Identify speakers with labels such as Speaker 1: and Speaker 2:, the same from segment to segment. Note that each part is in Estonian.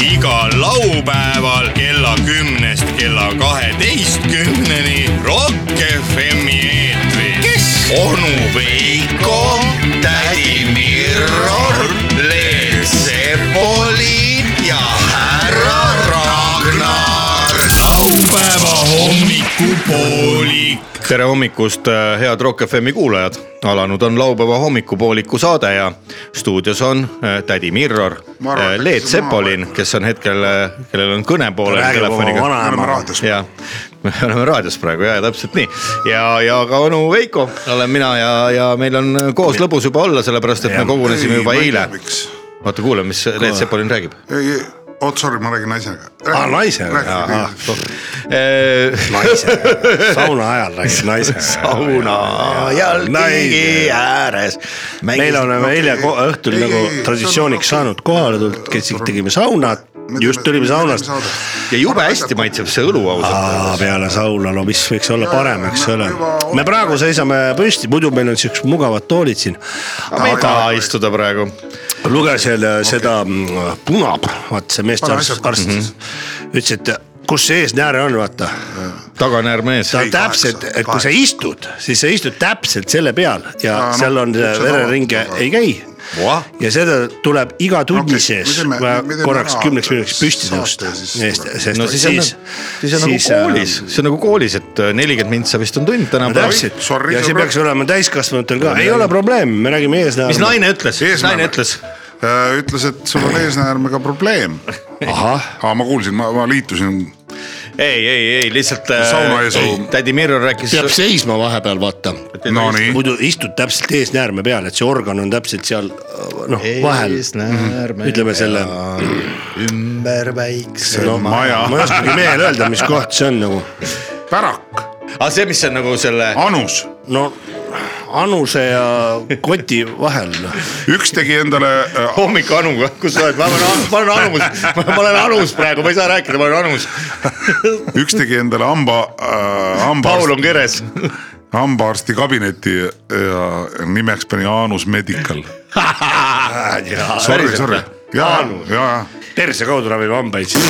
Speaker 1: igal laupäeval kella kümnest kella kaheteistkümneni Rock FM-i eetris . kes ? onu Veiko , tädi Mirror , Leel Sepoli ja härra Ragnar . laupäeva hommikupoolik .
Speaker 2: tere hommikust , head Rock FM-i kuulajad . alanud on laupäeva hommikupooliku saade ja stuudios on äh, tädi Mirror äh,
Speaker 3: Ma arvan, et ,
Speaker 2: Leet
Speaker 3: hakkasin
Speaker 2: Sepolin , kes on hetkel , kellel on kõne poolel
Speaker 4: räägib oma
Speaker 2: telefoniga .
Speaker 3: me oleme
Speaker 4: vanaema .
Speaker 3: raadios .
Speaker 2: ja me oleme raadios praegu ja täpselt nii ja , ja ka onu Veiko olen mina ja , ja meil on koos lõbus juba olla , sellepärast et me kogunesime juba eile . oota , kuulame , mis Leet Sepolin räägib .
Speaker 3: ei , ei , oot , sorry , ma räägin naisega .
Speaker 4: aa , naisega ,
Speaker 3: Rääkige.
Speaker 4: naisega , sauna ajal räägid naisega .
Speaker 2: sauna ajal kõigi ääres .
Speaker 4: meil oleme
Speaker 3: Okei.
Speaker 4: eile ko- õhtul
Speaker 3: Ei,
Speaker 4: nagu
Speaker 3: ei, ei,
Speaker 4: traditsiooniks
Speaker 3: see on-
Speaker 4: saanud kohale tulnud , kes tegime saunat , just tulime saunast .
Speaker 2: ja jube hästi . maitseb see õlu ausalt öeldes .
Speaker 4: peale sauna , no mis võiks olla
Speaker 3: Ja,
Speaker 4: parem ,
Speaker 3: ja,
Speaker 4: eks
Speaker 3: me
Speaker 4: ole
Speaker 3: juba .
Speaker 4: me praegu seisame püsti , muidu meil on siuksed mugavad toolid siin .
Speaker 2: ma ei
Speaker 3: Aga-
Speaker 2: taha istuda praegu .
Speaker 4: lugesin okay. seda mm, punab , vaat see
Speaker 3: Pane asjad
Speaker 4: meestarst , arst
Speaker 3: kokku.
Speaker 4: ütles , et kus see eesnääre on , vaata .
Speaker 2: taganäärmees
Speaker 4: ta
Speaker 3: Ei,
Speaker 4: on täpselt ,
Speaker 3: kaheksa,
Speaker 4: et kui sa
Speaker 3: kaheksa.
Speaker 4: istud , siis sa istud täpselt selle peal ja
Speaker 3: Aa, no,
Speaker 4: seal on see
Speaker 3: üks on
Speaker 4: vereringe
Speaker 3: avatud, aga-
Speaker 4: ei käi .
Speaker 2: Voah.
Speaker 4: ja seda tuleb iga tunni
Speaker 3: Okei,
Speaker 4: okay, sees
Speaker 3: me teeme-
Speaker 4: vaja
Speaker 3: me teeme
Speaker 4: korraks
Speaker 3: ära
Speaker 4: kümneks minutiks püsti
Speaker 3: saate
Speaker 4: tõusta .
Speaker 3: siis-
Speaker 4: sest äh,
Speaker 2: no siis on , siis on nagu
Speaker 4: ähm,
Speaker 2: koolis , see on nagu koolis , et nelikümmend mintsa vist on tund
Speaker 4: no
Speaker 2: tänapäeval .
Speaker 4: täpselt
Speaker 3: Sorry,
Speaker 4: ja see
Speaker 3: sõbrad.
Speaker 4: peaks olema täiskasvanutel ka , ei ole probleemi , me räägime eesnäärme .
Speaker 2: mis naine ütles , mis
Speaker 3: Eesmäe-
Speaker 2: naine ütles ?
Speaker 3: Äh, ütles , et sul on eesnäärmega probleem .
Speaker 4: ahah ,
Speaker 3: aa , ma kuulsin , ma , ma liitusin .
Speaker 2: ei , ei , ei lihtsalt
Speaker 3: Sauna ees
Speaker 2: äh,
Speaker 3: on-
Speaker 2: tädi Mirro rääkis .
Speaker 4: peab seisma vahepeal , vaata
Speaker 3: Nonii ,
Speaker 4: muidu istud täpselt eesnäärme peal , et see organ on täpselt seal noh vahel ,
Speaker 2: eesnäärme
Speaker 4: ütleme selle ,
Speaker 2: ümber väikse
Speaker 4: no ma
Speaker 3: maja.
Speaker 4: ma ei oskagi mehel öelda , mis koht see on nagu .
Speaker 3: pärak ,
Speaker 2: aga see , mis on nagu selle ,
Speaker 3: anus .
Speaker 4: no anuse ja koti vahel ,
Speaker 3: üks tegi endale äh,
Speaker 2: hommik Anuga , kus sa oled , ma olen , ma olen Anus , ma olen Anus praegu , ma ei saa rääkida , ma olen Anus .
Speaker 3: üks tegi endale hamba äh, ,
Speaker 2: Paul
Speaker 3: hambaarsti ,
Speaker 2: on keres .
Speaker 3: hambaarsti kabineti ja nimeks pani Anus Medical . sorry ,
Speaker 4: Ah,
Speaker 2: Päriselt
Speaker 3: sorry
Speaker 2: või? .
Speaker 3: ja ,
Speaker 4: Anus.
Speaker 3: ja , ja
Speaker 4: perse kaudu ravib hambaid siis .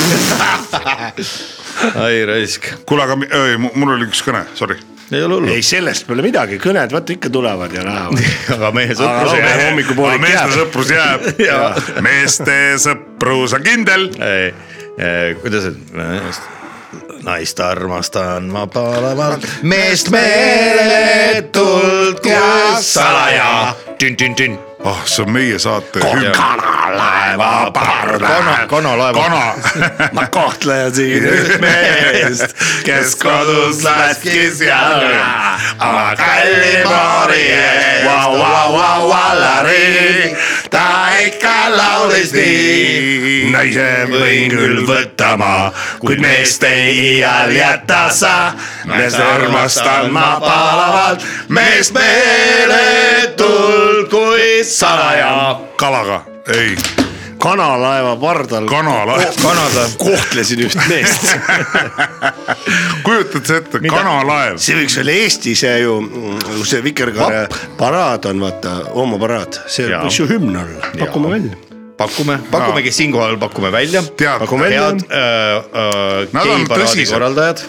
Speaker 2: ai raisk ,
Speaker 3: kuule , aga mi- ei, mu- mul oli üks kõne , sorry .
Speaker 2: ei ole hullu
Speaker 4: ei , sellest pole midagi , kõned vaata ikka tulevad ja lähevad .
Speaker 2: aga meie
Speaker 4: Aga
Speaker 2: sõprus
Speaker 4: laupäev
Speaker 2: jääb .
Speaker 4: hommikupoolik
Speaker 3: Aga Oh, meeste
Speaker 4: jääb.
Speaker 3: sõprus jääb
Speaker 2: Jaa.
Speaker 3: meeste sõprus on kindel .
Speaker 2: ei , kuidas see , naist armastan ma palavalt , meest meeletult ja salaja . tünn-tünn-tünn .
Speaker 3: ah , see on meie saate hümn .
Speaker 4: kanalaeva parda ,
Speaker 2: kana , kanalaeva .
Speaker 3: kana .
Speaker 4: ma kohtlen siin üht meest , kes kodus laskis jalga oma kalli moori ees . Vau , vau , vau , Alari , ta ikka laulis nii . naise võin küll võtta ma , kuid meest ei iial jäta sa . meest armastan ma palavalt , meest meeletult .
Speaker 2: kui salaja .
Speaker 3: kalaga , ei ,
Speaker 4: kanalaeva pardal
Speaker 3: kanala .
Speaker 2: Kanada ,
Speaker 4: kohtlesin üht meest .
Speaker 3: kujutad sa ette , kanalaev .
Speaker 4: see võiks olla Eesti see ju , see Vikerkaare paraad on vaata , homoparaad , see
Speaker 2: Jaa.
Speaker 4: võiks ju hümn olla , pakume välja .
Speaker 2: pakume , pakumegi siinkohal , pakume välja .
Speaker 3: tead ,
Speaker 4: Pakume välja.
Speaker 2: head äh, äh,
Speaker 3: Nad on
Speaker 2: geiparaadi
Speaker 3: tõsised.
Speaker 2: korraldajad ,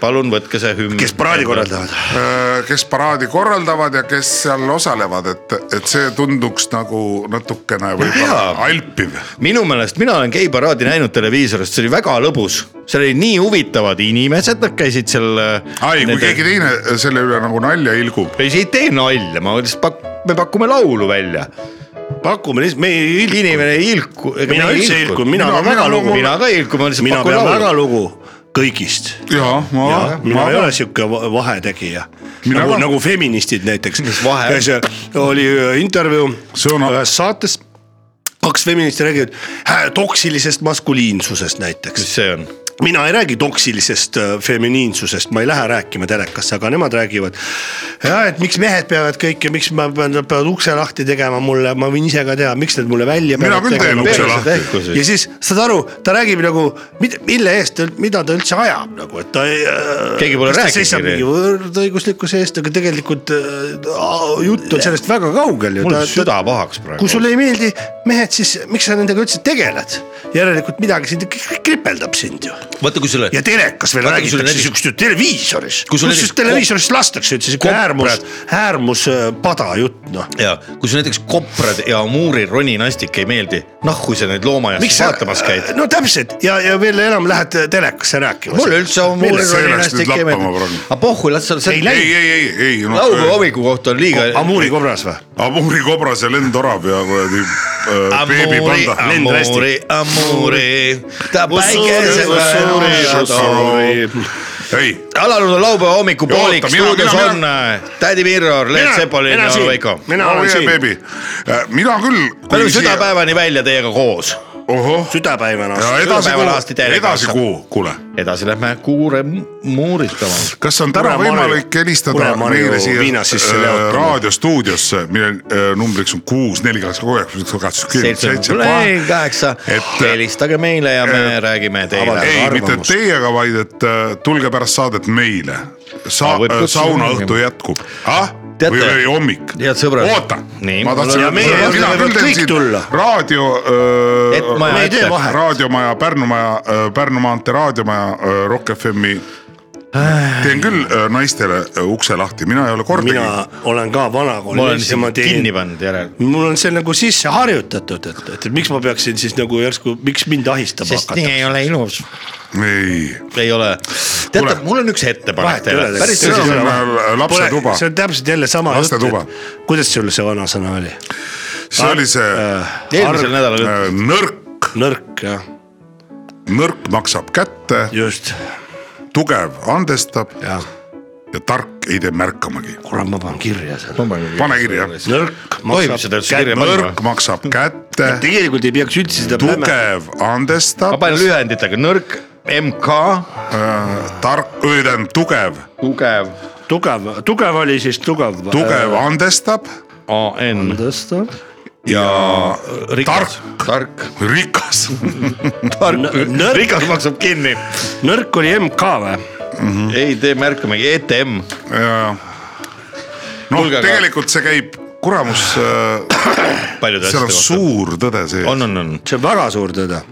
Speaker 2: palun võtke see hümn .
Speaker 4: kes paraadi ? korraldavad ?
Speaker 3: Äh, kes paraadi korraldavad ja kes seal osalevad , et , et see tunduks nagu natukene võib-olla
Speaker 2: jaa.
Speaker 3: alpiv .
Speaker 2: minu meelest , mina olen geiparaadi näinud televiisorist , see oli väga lõbus , seal oli nii huvitavad inimesed , nad käisid seal . äh,
Speaker 3: ai , kui keegi teine selle üle nagu nalja ilgub .
Speaker 2: ei , see ei tee nalja , ma lihtsalt pak- , me pakume laulu välja .
Speaker 4: pakume lihtsalt , me ei ilku .
Speaker 2: inimene ei ilku .
Speaker 4: mina üldse ei ilku , mina olen väga lugu ,
Speaker 2: mina ka ei ilku , ma lihtsalt
Speaker 4: mina
Speaker 2: pakun
Speaker 4: pean väga
Speaker 2: laulu .
Speaker 4: lugu kõigist .
Speaker 3: ja , ma ,
Speaker 4: mina
Speaker 3: ma
Speaker 4: ei ole sihuke va- vahetegija .
Speaker 3: Mina
Speaker 4: nagu
Speaker 3: ka. ,
Speaker 4: nagu feministid näiteks .
Speaker 2: Mis vahe on?
Speaker 4: oli äh, intervjuu
Speaker 3: See on-
Speaker 4: ühes saates kaks feministi räägivad äh, toksilisest maskuliinsusest näiteks
Speaker 2: mis see on ?
Speaker 4: mina ei räägi toksilisest äh, feminiinsusest , ma ei lähe rääkima telekasse , aga nemad räägivad . ja et miks mehed peavad kõike , miks ma pean , nad peavad ukse lahti tegema mulle , ma võin ise ka teha , miks nad mulle välja .
Speaker 3: Mina küll teen ukse lahti.
Speaker 2: Tehku
Speaker 4: ja siis saad aru , ta räägib nagu , mille eest , mida ta üldse ajab nagu , et ta ei äh, .
Speaker 2: Keegi pole rääkinudki
Speaker 4: seisab
Speaker 2: nii.
Speaker 4: mingi võrdõiguslikkuse eest , aga tegelikult äh, jutt on sellest väga kaugel ju .
Speaker 2: mul süda nagu. pahaks praegu
Speaker 4: kui . sulle ei meeldi mehed , siis miks sa nendega üldse tegeled ? järelikult midagi sind k- kripeldab sind ju .
Speaker 2: vaata , kui sulle
Speaker 4: ja telekas veel
Speaker 2: Vaata, kui sul
Speaker 4: räägitakse
Speaker 2: näiteks-
Speaker 4: siukest ju televiisioonis .
Speaker 2: Kui sul
Speaker 4: kusjuures
Speaker 2: näiteks-
Speaker 4: televiisorist lastakse üldse siuke
Speaker 2: Kopras-
Speaker 4: äärmus , äärmus äh, pada jutt noh .
Speaker 2: ja kui sulle näiteks koprad ja Amuuri roninastik ei meeldi , noh kui sa neid loomaaias vaatamas käid .
Speaker 4: no täpselt ja , ja veel enam lähed äh, telekasse rääkima .
Speaker 2: mulle üldse Amuuri
Speaker 3: Millest see läks nüüd
Speaker 2: roninastik ei
Speaker 3: lappama
Speaker 2: meeldi
Speaker 3: praegu? .
Speaker 2: aga Ah, pohhu , las seal
Speaker 4: Ei
Speaker 2: see
Speaker 4: lähe-
Speaker 3: ei , ei , ei , ei no, .
Speaker 2: laupäeva hommiku kohta on liiga .
Speaker 4: Amuuri kobras või ?
Speaker 3: Amuri kobras ja lendorav ja kuradi äh, beebipanda .
Speaker 4: lendrasti.
Speaker 2: Amuuri , Amuuri , ta päikese
Speaker 3: ei ,
Speaker 2: alanud on laupäeva hommikupoolik ,
Speaker 3: Oota, mina-
Speaker 2: stuudios
Speaker 3: mina-
Speaker 2: on äh, Tädi Mirror , Leet Sepolin ja Veiko .
Speaker 4: mina
Speaker 3: oh
Speaker 4: olen
Speaker 3: yeah
Speaker 4: siin ,
Speaker 3: baby , Äh, mina küll .
Speaker 2: me oleme südapäevani välja teiega koos .
Speaker 3: ohoh ,
Speaker 4: südapäevana .
Speaker 3: ja edasi
Speaker 2: südapäeval alasti
Speaker 3: kuu ,
Speaker 2: telekast.
Speaker 3: edasi kuu , kuule
Speaker 2: edasi lähme kuure muuritama .
Speaker 3: kas on täna
Speaker 4: Kure Marju-
Speaker 3: võimalik helistada
Speaker 4: Kure Marju
Speaker 3: meile siia
Speaker 4: viina sisse
Speaker 3: äh,
Speaker 4: leotama.
Speaker 3: raadiostuudiosse , mille äh, numbriks on kuus , neli , kaheksa , kaheksa , kaheksa ,
Speaker 2: seitse ,
Speaker 3: seitse ,
Speaker 2: kaheksa
Speaker 3: et- ,
Speaker 2: helistage meile ja me
Speaker 3: et-
Speaker 2: räägime
Speaker 4: avaldage
Speaker 2: teile .
Speaker 3: ei , mitte
Speaker 4: arvamust.
Speaker 3: teiega , vaid et äh, tulge pärast saadet meile . Sa-
Speaker 2: Aa, , võib kutsuda
Speaker 3: saunaõhtu jätkub . ah ,
Speaker 2: Teate-
Speaker 3: või , või hommik .
Speaker 2: Head sõbrad.
Speaker 3: oota ,
Speaker 2: Nii,
Speaker 3: ma
Speaker 2: mul
Speaker 3: tahtsin
Speaker 2: on-
Speaker 4: Ja meie juurde võivad kõik tulla.
Speaker 3: raadio äh,
Speaker 2: Et maja
Speaker 4: me ei tee
Speaker 2: ette.
Speaker 4: vahet .
Speaker 3: raadiomaja , Pärnumaja , Pärnu maantee raadiomaja , Rock FM-i . teen küll äh, naistele äh, ukse lahti , mina ei ole kordagi .
Speaker 4: mina olen ka
Speaker 2: ma olen
Speaker 4: vanakoolist ja ma
Speaker 2: siin
Speaker 4: teen
Speaker 2: kinni pannud järel .
Speaker 4: mul on see nagu sisse harjutatud , et , et miks ma peaksin siis nagu järsku , miks mind ahistama
Speaker 2: sest nii
Speaker 4: hakata .
Speaker 2: ei ole ilus .
Speaker 3: ei ,
Speaker 2: ei ole .
Speaker 3: Kuule.
Speaker 2: teate , mul on üks ettepanek
Speaker 4: Vahet ei ole
Speaker 2: teile . päris
Speaker 3: see
Speaker 4: tõsiselt.
Speaker 2: tõsiselt .
Speaker 3: on äh, lapsetuba ,
Speaker 4: see on täpselt jälle sama
Speaker 3: Lastetuba.
Speaker 4: jutt . kuidas sul see vanasõna oli ?
Speaker 3: see oli see äh,
Speaker 2: eelmisel nädalal
Speaker 3: äh, nõrk ,
Speaker 4: nõrk jah ,
Speaker 3: nõrk maksab kätte ,
Speaker 4: just ,
Speaker 3: tugev andestab
Speaker 4: jah ,
Speaker 3: ja tark ei tee märkamagi .
Speaker 4: kurat , ma panen kirja selle .
Speaker 3: pane kirja ,
Speaker 4: nõrk
Speaker 2: tohib seda üldse kirja panna ?
Speaker 3: nõrk maksab kätte ,
Speaker 4: tegelikult ei peaks üldse seda päme-
Speaker 3: tugev
Speaker 2: ma
Speaker 3: andestab ,
Speaker 2: panen lühenditega nõrk , MK ,
Speaker 3: tark , tähendab tugev ,
Speaker 2: tugev ,
Speaker 4: tugev , tugev oli siis tugev .
Speaker 3: tugev
Speaker 2: Äh.
Speaker 3: andestab
Speaker 2: AN .
Speaker 4: tõsta .
Speaker 3: ja
Speaker 2: äh, rikas , tark ,
Speaker 3: rikas
Speaker 4: Nõrk.
Speaker 2: tark , rikas maksab kinni .
Speaker 4: nõrk oli MK või ?
Speaker 2: Mm. ei tee märkamegi , E ETM .
Speaker 3: ja , ja . noh ,
Speaker 2: Kuulge, aga-
Speaker 3: tegelikult see käib , kuramus äh, ,
Speaker 2: paljude
Speaker 3: seal on
Speaker 2: asjade kohta .
Speaker 3: suur tõde sees ,
Speaker 2: on , on , on .
Speaker 4: see on väga suur tõde .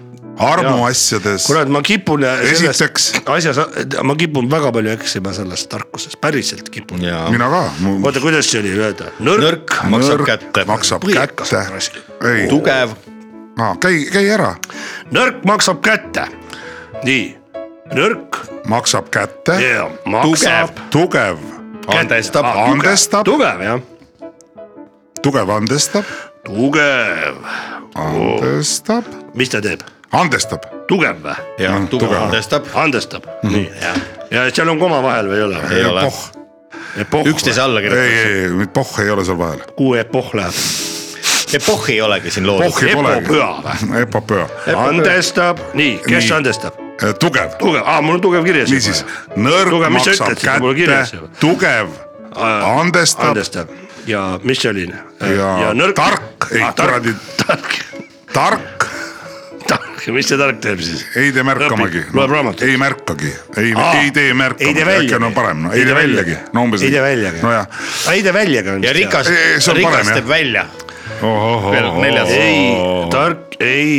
Speaker 3: armuasjades .
Speaker 4: kurat , ma kipun selles
Speaker 3: esiteks ,
Speaker 4: asjas , ma kipun väga palju eksima selles tarkuses , päriselt kipun .
Speaker 2: jaa .
Speaker 3: mina ka ,
Speaker 4: oota , kuidas see oli öelda ?
Speaker 2: nõrk maksab kätte .
Speaker 3: maksab
Speaker 4: Põhikas
Speaker 3: kätte
Speaker 4: on raske. ,
Speaker 3: ei ,
Speaker 2: tugev ,
Speaker 3: käi , käi ära ,
Speaker 4: nõrk maksab kätte . nii , nõrk
Speaker 3: maksab kätte
Speaker 4: ja maksab .
Speaker 3: tugev ,
Speaker 2: andestab ,
Speaker 3: andestab ,
Speaker 4: tugev jah .
Speaker 3: tugev andestab ,
Speaker 4: tugev .
Speaker 3: andestab ,
Speaker 4: mis ta teeb ?
Speaker 3: andestab ,
Speaker 4: tugev või ?
Speaker 2: jaa , tugev
Speaker 3: tugev.
Speaker 2: andestab ,
Speaker 4: andestab mm , -hmm. nii jah . ja seal on koma vahel või ei ole
Speaker 3: E-
Speaker 4: või ?
Speaker 2: ei ole ,
Speaker 3: pohh ,
Speaker 4: epohh .
Speaker 2: üksteise alla
Speaker 3: ei ,
Speaker 2: kirjutab ,
Speaker 3: ei , ei , pohh ei ole seal vahel ,
Speaker 4: kuhu epohh läheb ?
Speaker 2: epohhi ei olegi siin loodud .
Speaker 3: pohhi polegi ,
Speaker 4: epopöa või ?
Speaker 3: epopöö ,
Speaker 4: andestab , nii , kes
Speaker 3: Nii.
Speaker 4: nii. andestab ?
Speaker 3: eh, tugev
Speaker 4: tugev , aa , mul on tugev kirjas .
Speaker 3: niisiis , nõrk
Speaker 4: Tugev, mis sa
Speaker 3: maksab
Speaker 4: ütled, siis mul kirjas Äh, ei
Speaker 3: kätte
Speaker 4: ole. ,
Speaker 3: tugev andestab
Speaker 4: andestab ja mis see oli ?
Speaker 3: Ja tark, ei,
Speaker 4: Ah, tark
Speaker 3: kuradi- ,
Speaker 4: tark ,
Speaker 3: tark
Speaker 4: tark , mis see tark teeb siis ?
Speaker 3: ei tee märkamagi
Speaker 4: Õpib, , loeb raamatut.
Speaker 3: ei märkagi , ei ,
Speaker 4: Aa,
Speaker 3: ei tee
Speaker 4: ei
Speaker 3: märkamagi ,
Speaker 4: tee väljagi.
Speaker 3: äkki on parem , no ei tee väljagi , no umbes
Speaker 4: ei tee väljagi.
Speaker 3: nojah ,
Speaker 4: ei tee väljaga on .
Speaker 2: ja rikas
Speaker 3: Ei, ei, see , on parem,
Speaker 2: rikas
Speaker 3: jah.
Speaker 2: teeb välja , Veel neljas.
Speaker 3: ohohoh ,
Speaker 4: ei , tark ei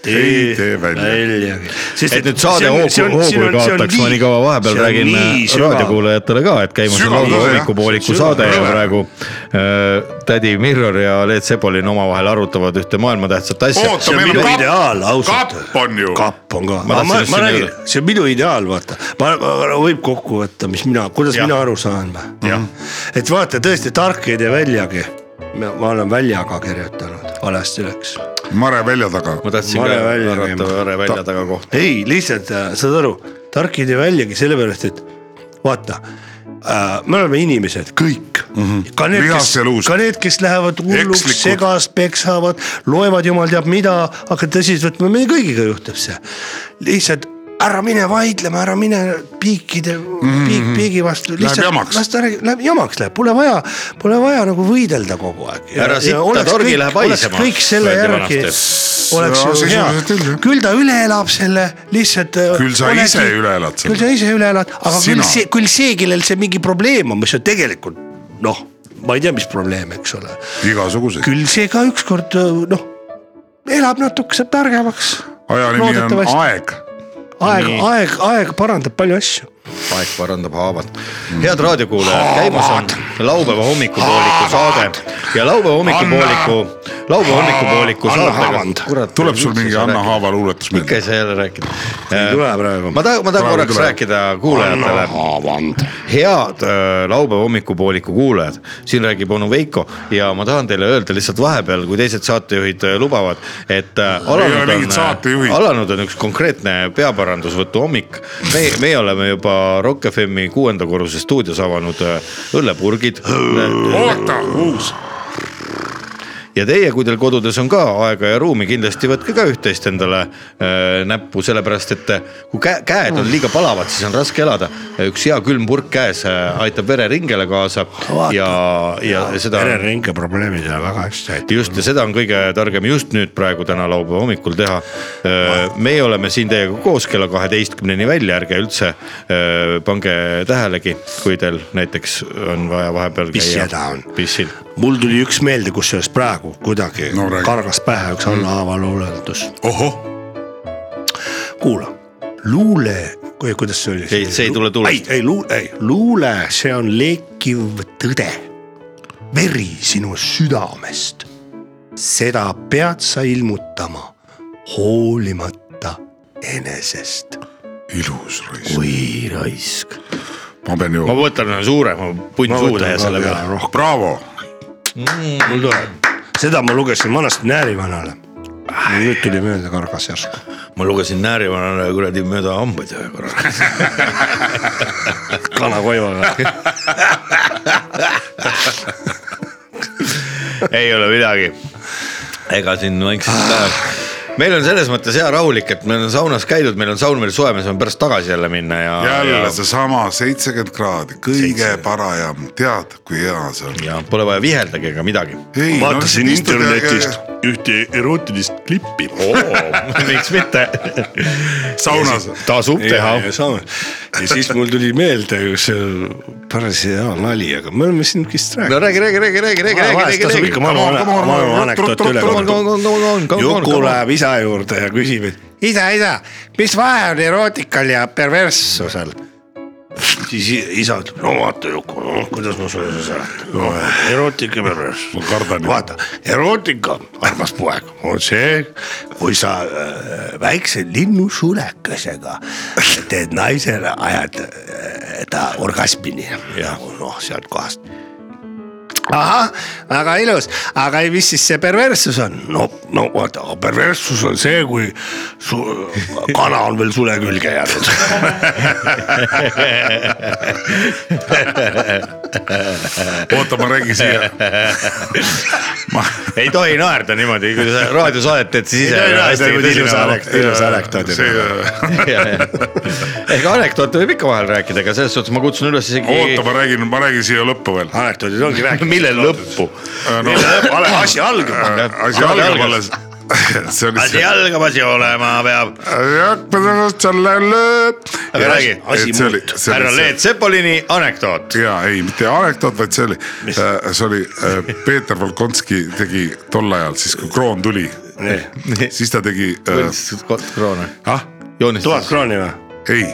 Speaker 4: tee,
Speaker 3: Ei tee välja.
Speaker 4: väljagi .
Speaker 2: et nüüd saade hoogu , hoogu ei kaotaks , ma nii kaua vahepeal räägin äh, raadiokuulajatele ka , et käimas on
Speaker 3: Sügav
Speaker 2: laupäeva
Speaker 3: tõde, jah.
Speaker 2: hommikupooliku
Speaker 4: Sügav
Speaker 2: saade ja
Speaker 3: tõde.
Speaker 2: praegu äh, tädi Mirror ja Leet Sepolin omavahel arutavad ühte maailmatähtsat asja .
Speaker 3: Oota,
Speaker 4: see on
Speaker 3: meil on
Speaker 4: minu
Speaker 3: kapp-
Speaker 4: ideaal ausalt .
Speaker 3: kapp on ju.
Speaker 4: kapp on ka ,
Speaker 2: Ma
Speaker 4: ma,
Speaker 2: tahtsin just
Speaker 4: ma, ma
Speaker 2: sinna
Speaker 4: räägin
Speaker 2: jõuda. ,
Speaker 4: see on minu ideaal , vaata . ma , võib kokku võtta , mis mina , kuidas
Speaker 2: Jah.
Speaker 4: ja. mina aru saan või . et vaata tõesti tark ei tee väljagi . ma olen väljaga kirjutanud valesti läks .
Speaker 3: mare välja taga ,
Speaker 2: ma tahtsin
Speaker 4: Mare
Speaker 2: ka
Speaker 4: välja
Speaker 2: arvata
Speaker 4: käima.
Speaker 2: Mare välja taga kohta .
Speaker 4: ei , lihtsalt äh, saad aru , tark ei tee väljagi sellepärast , et vaata äh, , me oleme inimesed , kõik mm .
Speaker 2: Mhm.
Speaker 4: -hmm. ka need , kes
Speaker 3: Lihast ja , luust.
Speaker 4: ka need , kes lähevad hulluks
Speaker 3: Ekslikud. ,
Speaker 4: segas , peksavad , loevad jumal teab mida , aga tõsiselt , meil kõigiga juhtub see . lihtsalt ära mine vaidlema , ära mine piikide
Speaker 2: Mhm,
Speaker 4: mm , -hmm. piik piigi vastu .
Speaker 3: jamaks.
Speaker 4: las ta räägib , läheb jamaks läheb , pole vaja , pole vaja nagu võidelda kogu aeg .
Speaker 2: Ära sitta torgi lähe paisema,
Speaker 4: kõik selle
Speaker 2: öeldi
Speaker 4: järgi
Speaker 2: vanasti.
Speaker 4: oleks
Speaker 3: Ja
Speaker 4: ju
Speaker 3: sisuliselt küll,
Speaker 4: hea
Speaker 3: jah. ,
Speaker 4: küll ta üle elab selle lihtsalt .
Speaker 3: Küll sa ise üle elad selle.
Speaker 4: küll sa ise üle elad , aga
Speaker 3: Sina.
Speaker 4: küll see , küll see , kellel see mingi probleem on , mis on tegelikult noh , ma ei tea , mis probleem , eks ole ,
Speaker 3: igasuguseid .
Speaker 4: küll see ka ükskord noh , elab natuke , saab targemaks .
Speaker 3: aja nimi on
Speaker 4: Loodetavasti.
Speaker 3: aeg .
Speaker 4: aeg
Speaker 2: Nii. ,
Speaker 4: aeg , aeg parandab palju asju .
Speaker 2: aeg parandab haavad .
Speaker 3: Mm.
Speaker 2: head raadiokuulajad , käimas on laupäeva hommikupooliku saade ja laupäeva hommikupooliku , laupäeva hommikupooliku
Speaker 4: Anna
Speaker 2: saatega
Speaker 4: Haavand. .
Speaker 3: tuleb sul mingi Anna . Haava luuletus
Speaker 2: ikka ei
Speaker 3: meelde ?
Speaker 2: saa jälle rääkida .
Speaker 4: ei tule praegu.
Speaker 2: ma tahan , ma tahan
Speaker 3: Praegu
Speaker 2: korraks
Speaker 3: tuleb.
Speaker 2: rääkida kuulajatele . head äh, laupäeva hommikupooliku kuulajad , siin räägib onu Veiko ja ma tahan teile öelda lihtsalt vahepeal , kui teised saatejuhid äh, lubavad , et äh,
Speaker 3: ole
Speaker 2: alanud
Speaker 3: mingid
Speaker 2: on
Speaker 3: saatejuhid. ,
Speaker 2: alanud on üks konkreetne peaparandusvõtu hommik . me , meie oleme juba Rock FM-i kuuenda korruse stuudios avanud äh, õllepurgid .
Speaker 3: oota , uus .
Speaker 2: ja teie , kui teil kodudes on ka aega ja ruumi , kindlasti võtke ka üht-teist endale äh, näppu , sellepärast et äh, kui kä käed on liiga palavad , siis on raske elada . üks hea külm purk käes äh, aitab vereringele kaasa
Speaker 4: Vaata.
Speaker 2: ja , ja seda ,
Speaker 4: vereringe probleemid on väga hästi aitab .
Speaker 2: just ja seda on kõige targem just nüüd praegu täna laupäeva hommikul teha . meie oleme siin teiega koos kella kaheteistkümneni välja , ärge üldse äh, pange tähelegi , kui teil näiteks on vaja vahepeal
Speaker 4: Mis
Speaker 2: käia
Speaker 4: häda on?
Speaker 2: pissil
Speaker 4: mul tuli üks meelde , kusjuures praegu kuidagi
Speaker 3: No
Speaker 4: no,
Speaker 3: räägi.
Speaker 4: kargas pähe üks Anna Haava luuletus .
Speaker 3: ohoh ,
Speaker 4: kuula , luule , kuidas see oli ?
Speaker 2: Ei, see ei tule tulest.
Speaker 4: ei , ei luule , ei luule , see on lekiv tõde . veri sinu südamest . seda pead sa ilmutama hoolimata enesest .
Speaker 3: ilus raisk .
Speaker 4: oi raisk .
Speaker 3: ma pean
Speaker 2: ma
Speaker 3: ju ,
Speaker 2: võtan ühe suurema punnsuutäie selle peale .
Speaker 3: braavo ,
Speaker 4: mul tuleb , seda ma lugesin vanasti näärivanale . nüüd tuli meelde kargas järsku .
Speaker 2: ma lugesin näärivanale kuradi mööda hambaid ühe korra .
Speaker 4: kanakoivaga .
Speaker 2: ei ole midagi . ega siin vaikselt läheb . meil on selles mõttes hea rahulik , et meil on saunas käidud , meil on saun veel soe , me saame pärast tagasi jälle minna ja .
Speaker 3: jälle seesama seitsekümmend kraadi , kõige parajam , tead , kui hea see on .
Speaker 2: ja pole vaja viheldagi ega midagi .
Speaker 4: vaatasin no, internetist ühte erootilist klippi .
Speaker 1: Oh.
Speaker 2: miks mitte ?
Speaker 3: saunas .
Speaker 2: tasub teha .
Speaker 4: ja siis mul tuli meelde üks äh, päris hea nali , aga me oleme siin vist
Speaker 2: no
Speaker 4: rääkinud .
Speaker 2: räägi , räägi , räägi , räägi , räägi , räägi ,
Speaker 4: tasub
Speaker 2: räägi
Speaker 4: ikka . vanu
Speaker 3: Come on, come on, come on, come
Speaker 4: vanu
Speaker 3: on,
Speaker 4: anekdoot
Speaker 3: tru-
Speaker 4: üle
Speaker 3: tru- tru-
Speaker 4: korrata . Juku
Speaker 2: Juku
Speaker 4: läheb isa juurde ja küsib , et isa , isa , mis vahe on erootikal ja perverssusel ? siis i- isa ütleb , no vaata Juku , kuidas ma sulle seletan , erootika ja perverssus .
Speaker 3: kardan.
Speaker 4: vaata , erootika , armas poeg , on see , kui sa äh, väikse linnusulekesega teed naisele , ajad äh, ta orgasmini ja noh , sealt kohast ahah , väga ilus , aga ei, mis siis see perverssus on ? no , no vaata , perverssus on see , kui su kana on veel sule külge jäänud .
Speaker 3: oota , ma räägin siia . ma ,
Speaker 2: ei tohi naerda niimoodi , kui sa raadiosaadet teed , siis ise .
Speaker 4: ilus anekdoot
Speaker 3: see ,
Speaker 2: ega anekdoote võib ikka vahel rääkida , aga selles suhtes ma kutsun üles
Speaker 3: oota ,
Speaker 2: isegi .
Speaker 3: ma räägin , ma räägin siia lõppu veel .
Speaker 4: anekdoodid ongi rääkinud .
Speaker 2: millel lõppu ?
Speaker 3: Äh, no äh,
Speaker 4: asi algab .
Speaker 3: asi
Speaker 2: Saade
Speaker 3: algab
Speaker 2: algas.
Speaker 3: alles . see on
Speaker 2: asi
Speaker 3: lihtsalt .
Speaker 2: algab , asi olema peab .
Speaker 3: hakkad selle lööb .
Speaker 2: Aga räägi,
Speaker 4: asi
Speaker 2: härra Leet Sepolini anekdoot .
Speaker 3: ja ei , mitte anekdoot , vaid see oli , see oli äh, Peeter Volkonski tegi tol ajal siis , kui kroon tuli , siis ta tegi äh, ,
Speaker 2: kroone .
Speaker 3: ah ,
Speaker 4: tuhat
Speaker 2: joonistas .
Speaker 4: krooni või ?
Speaker 3: ei ,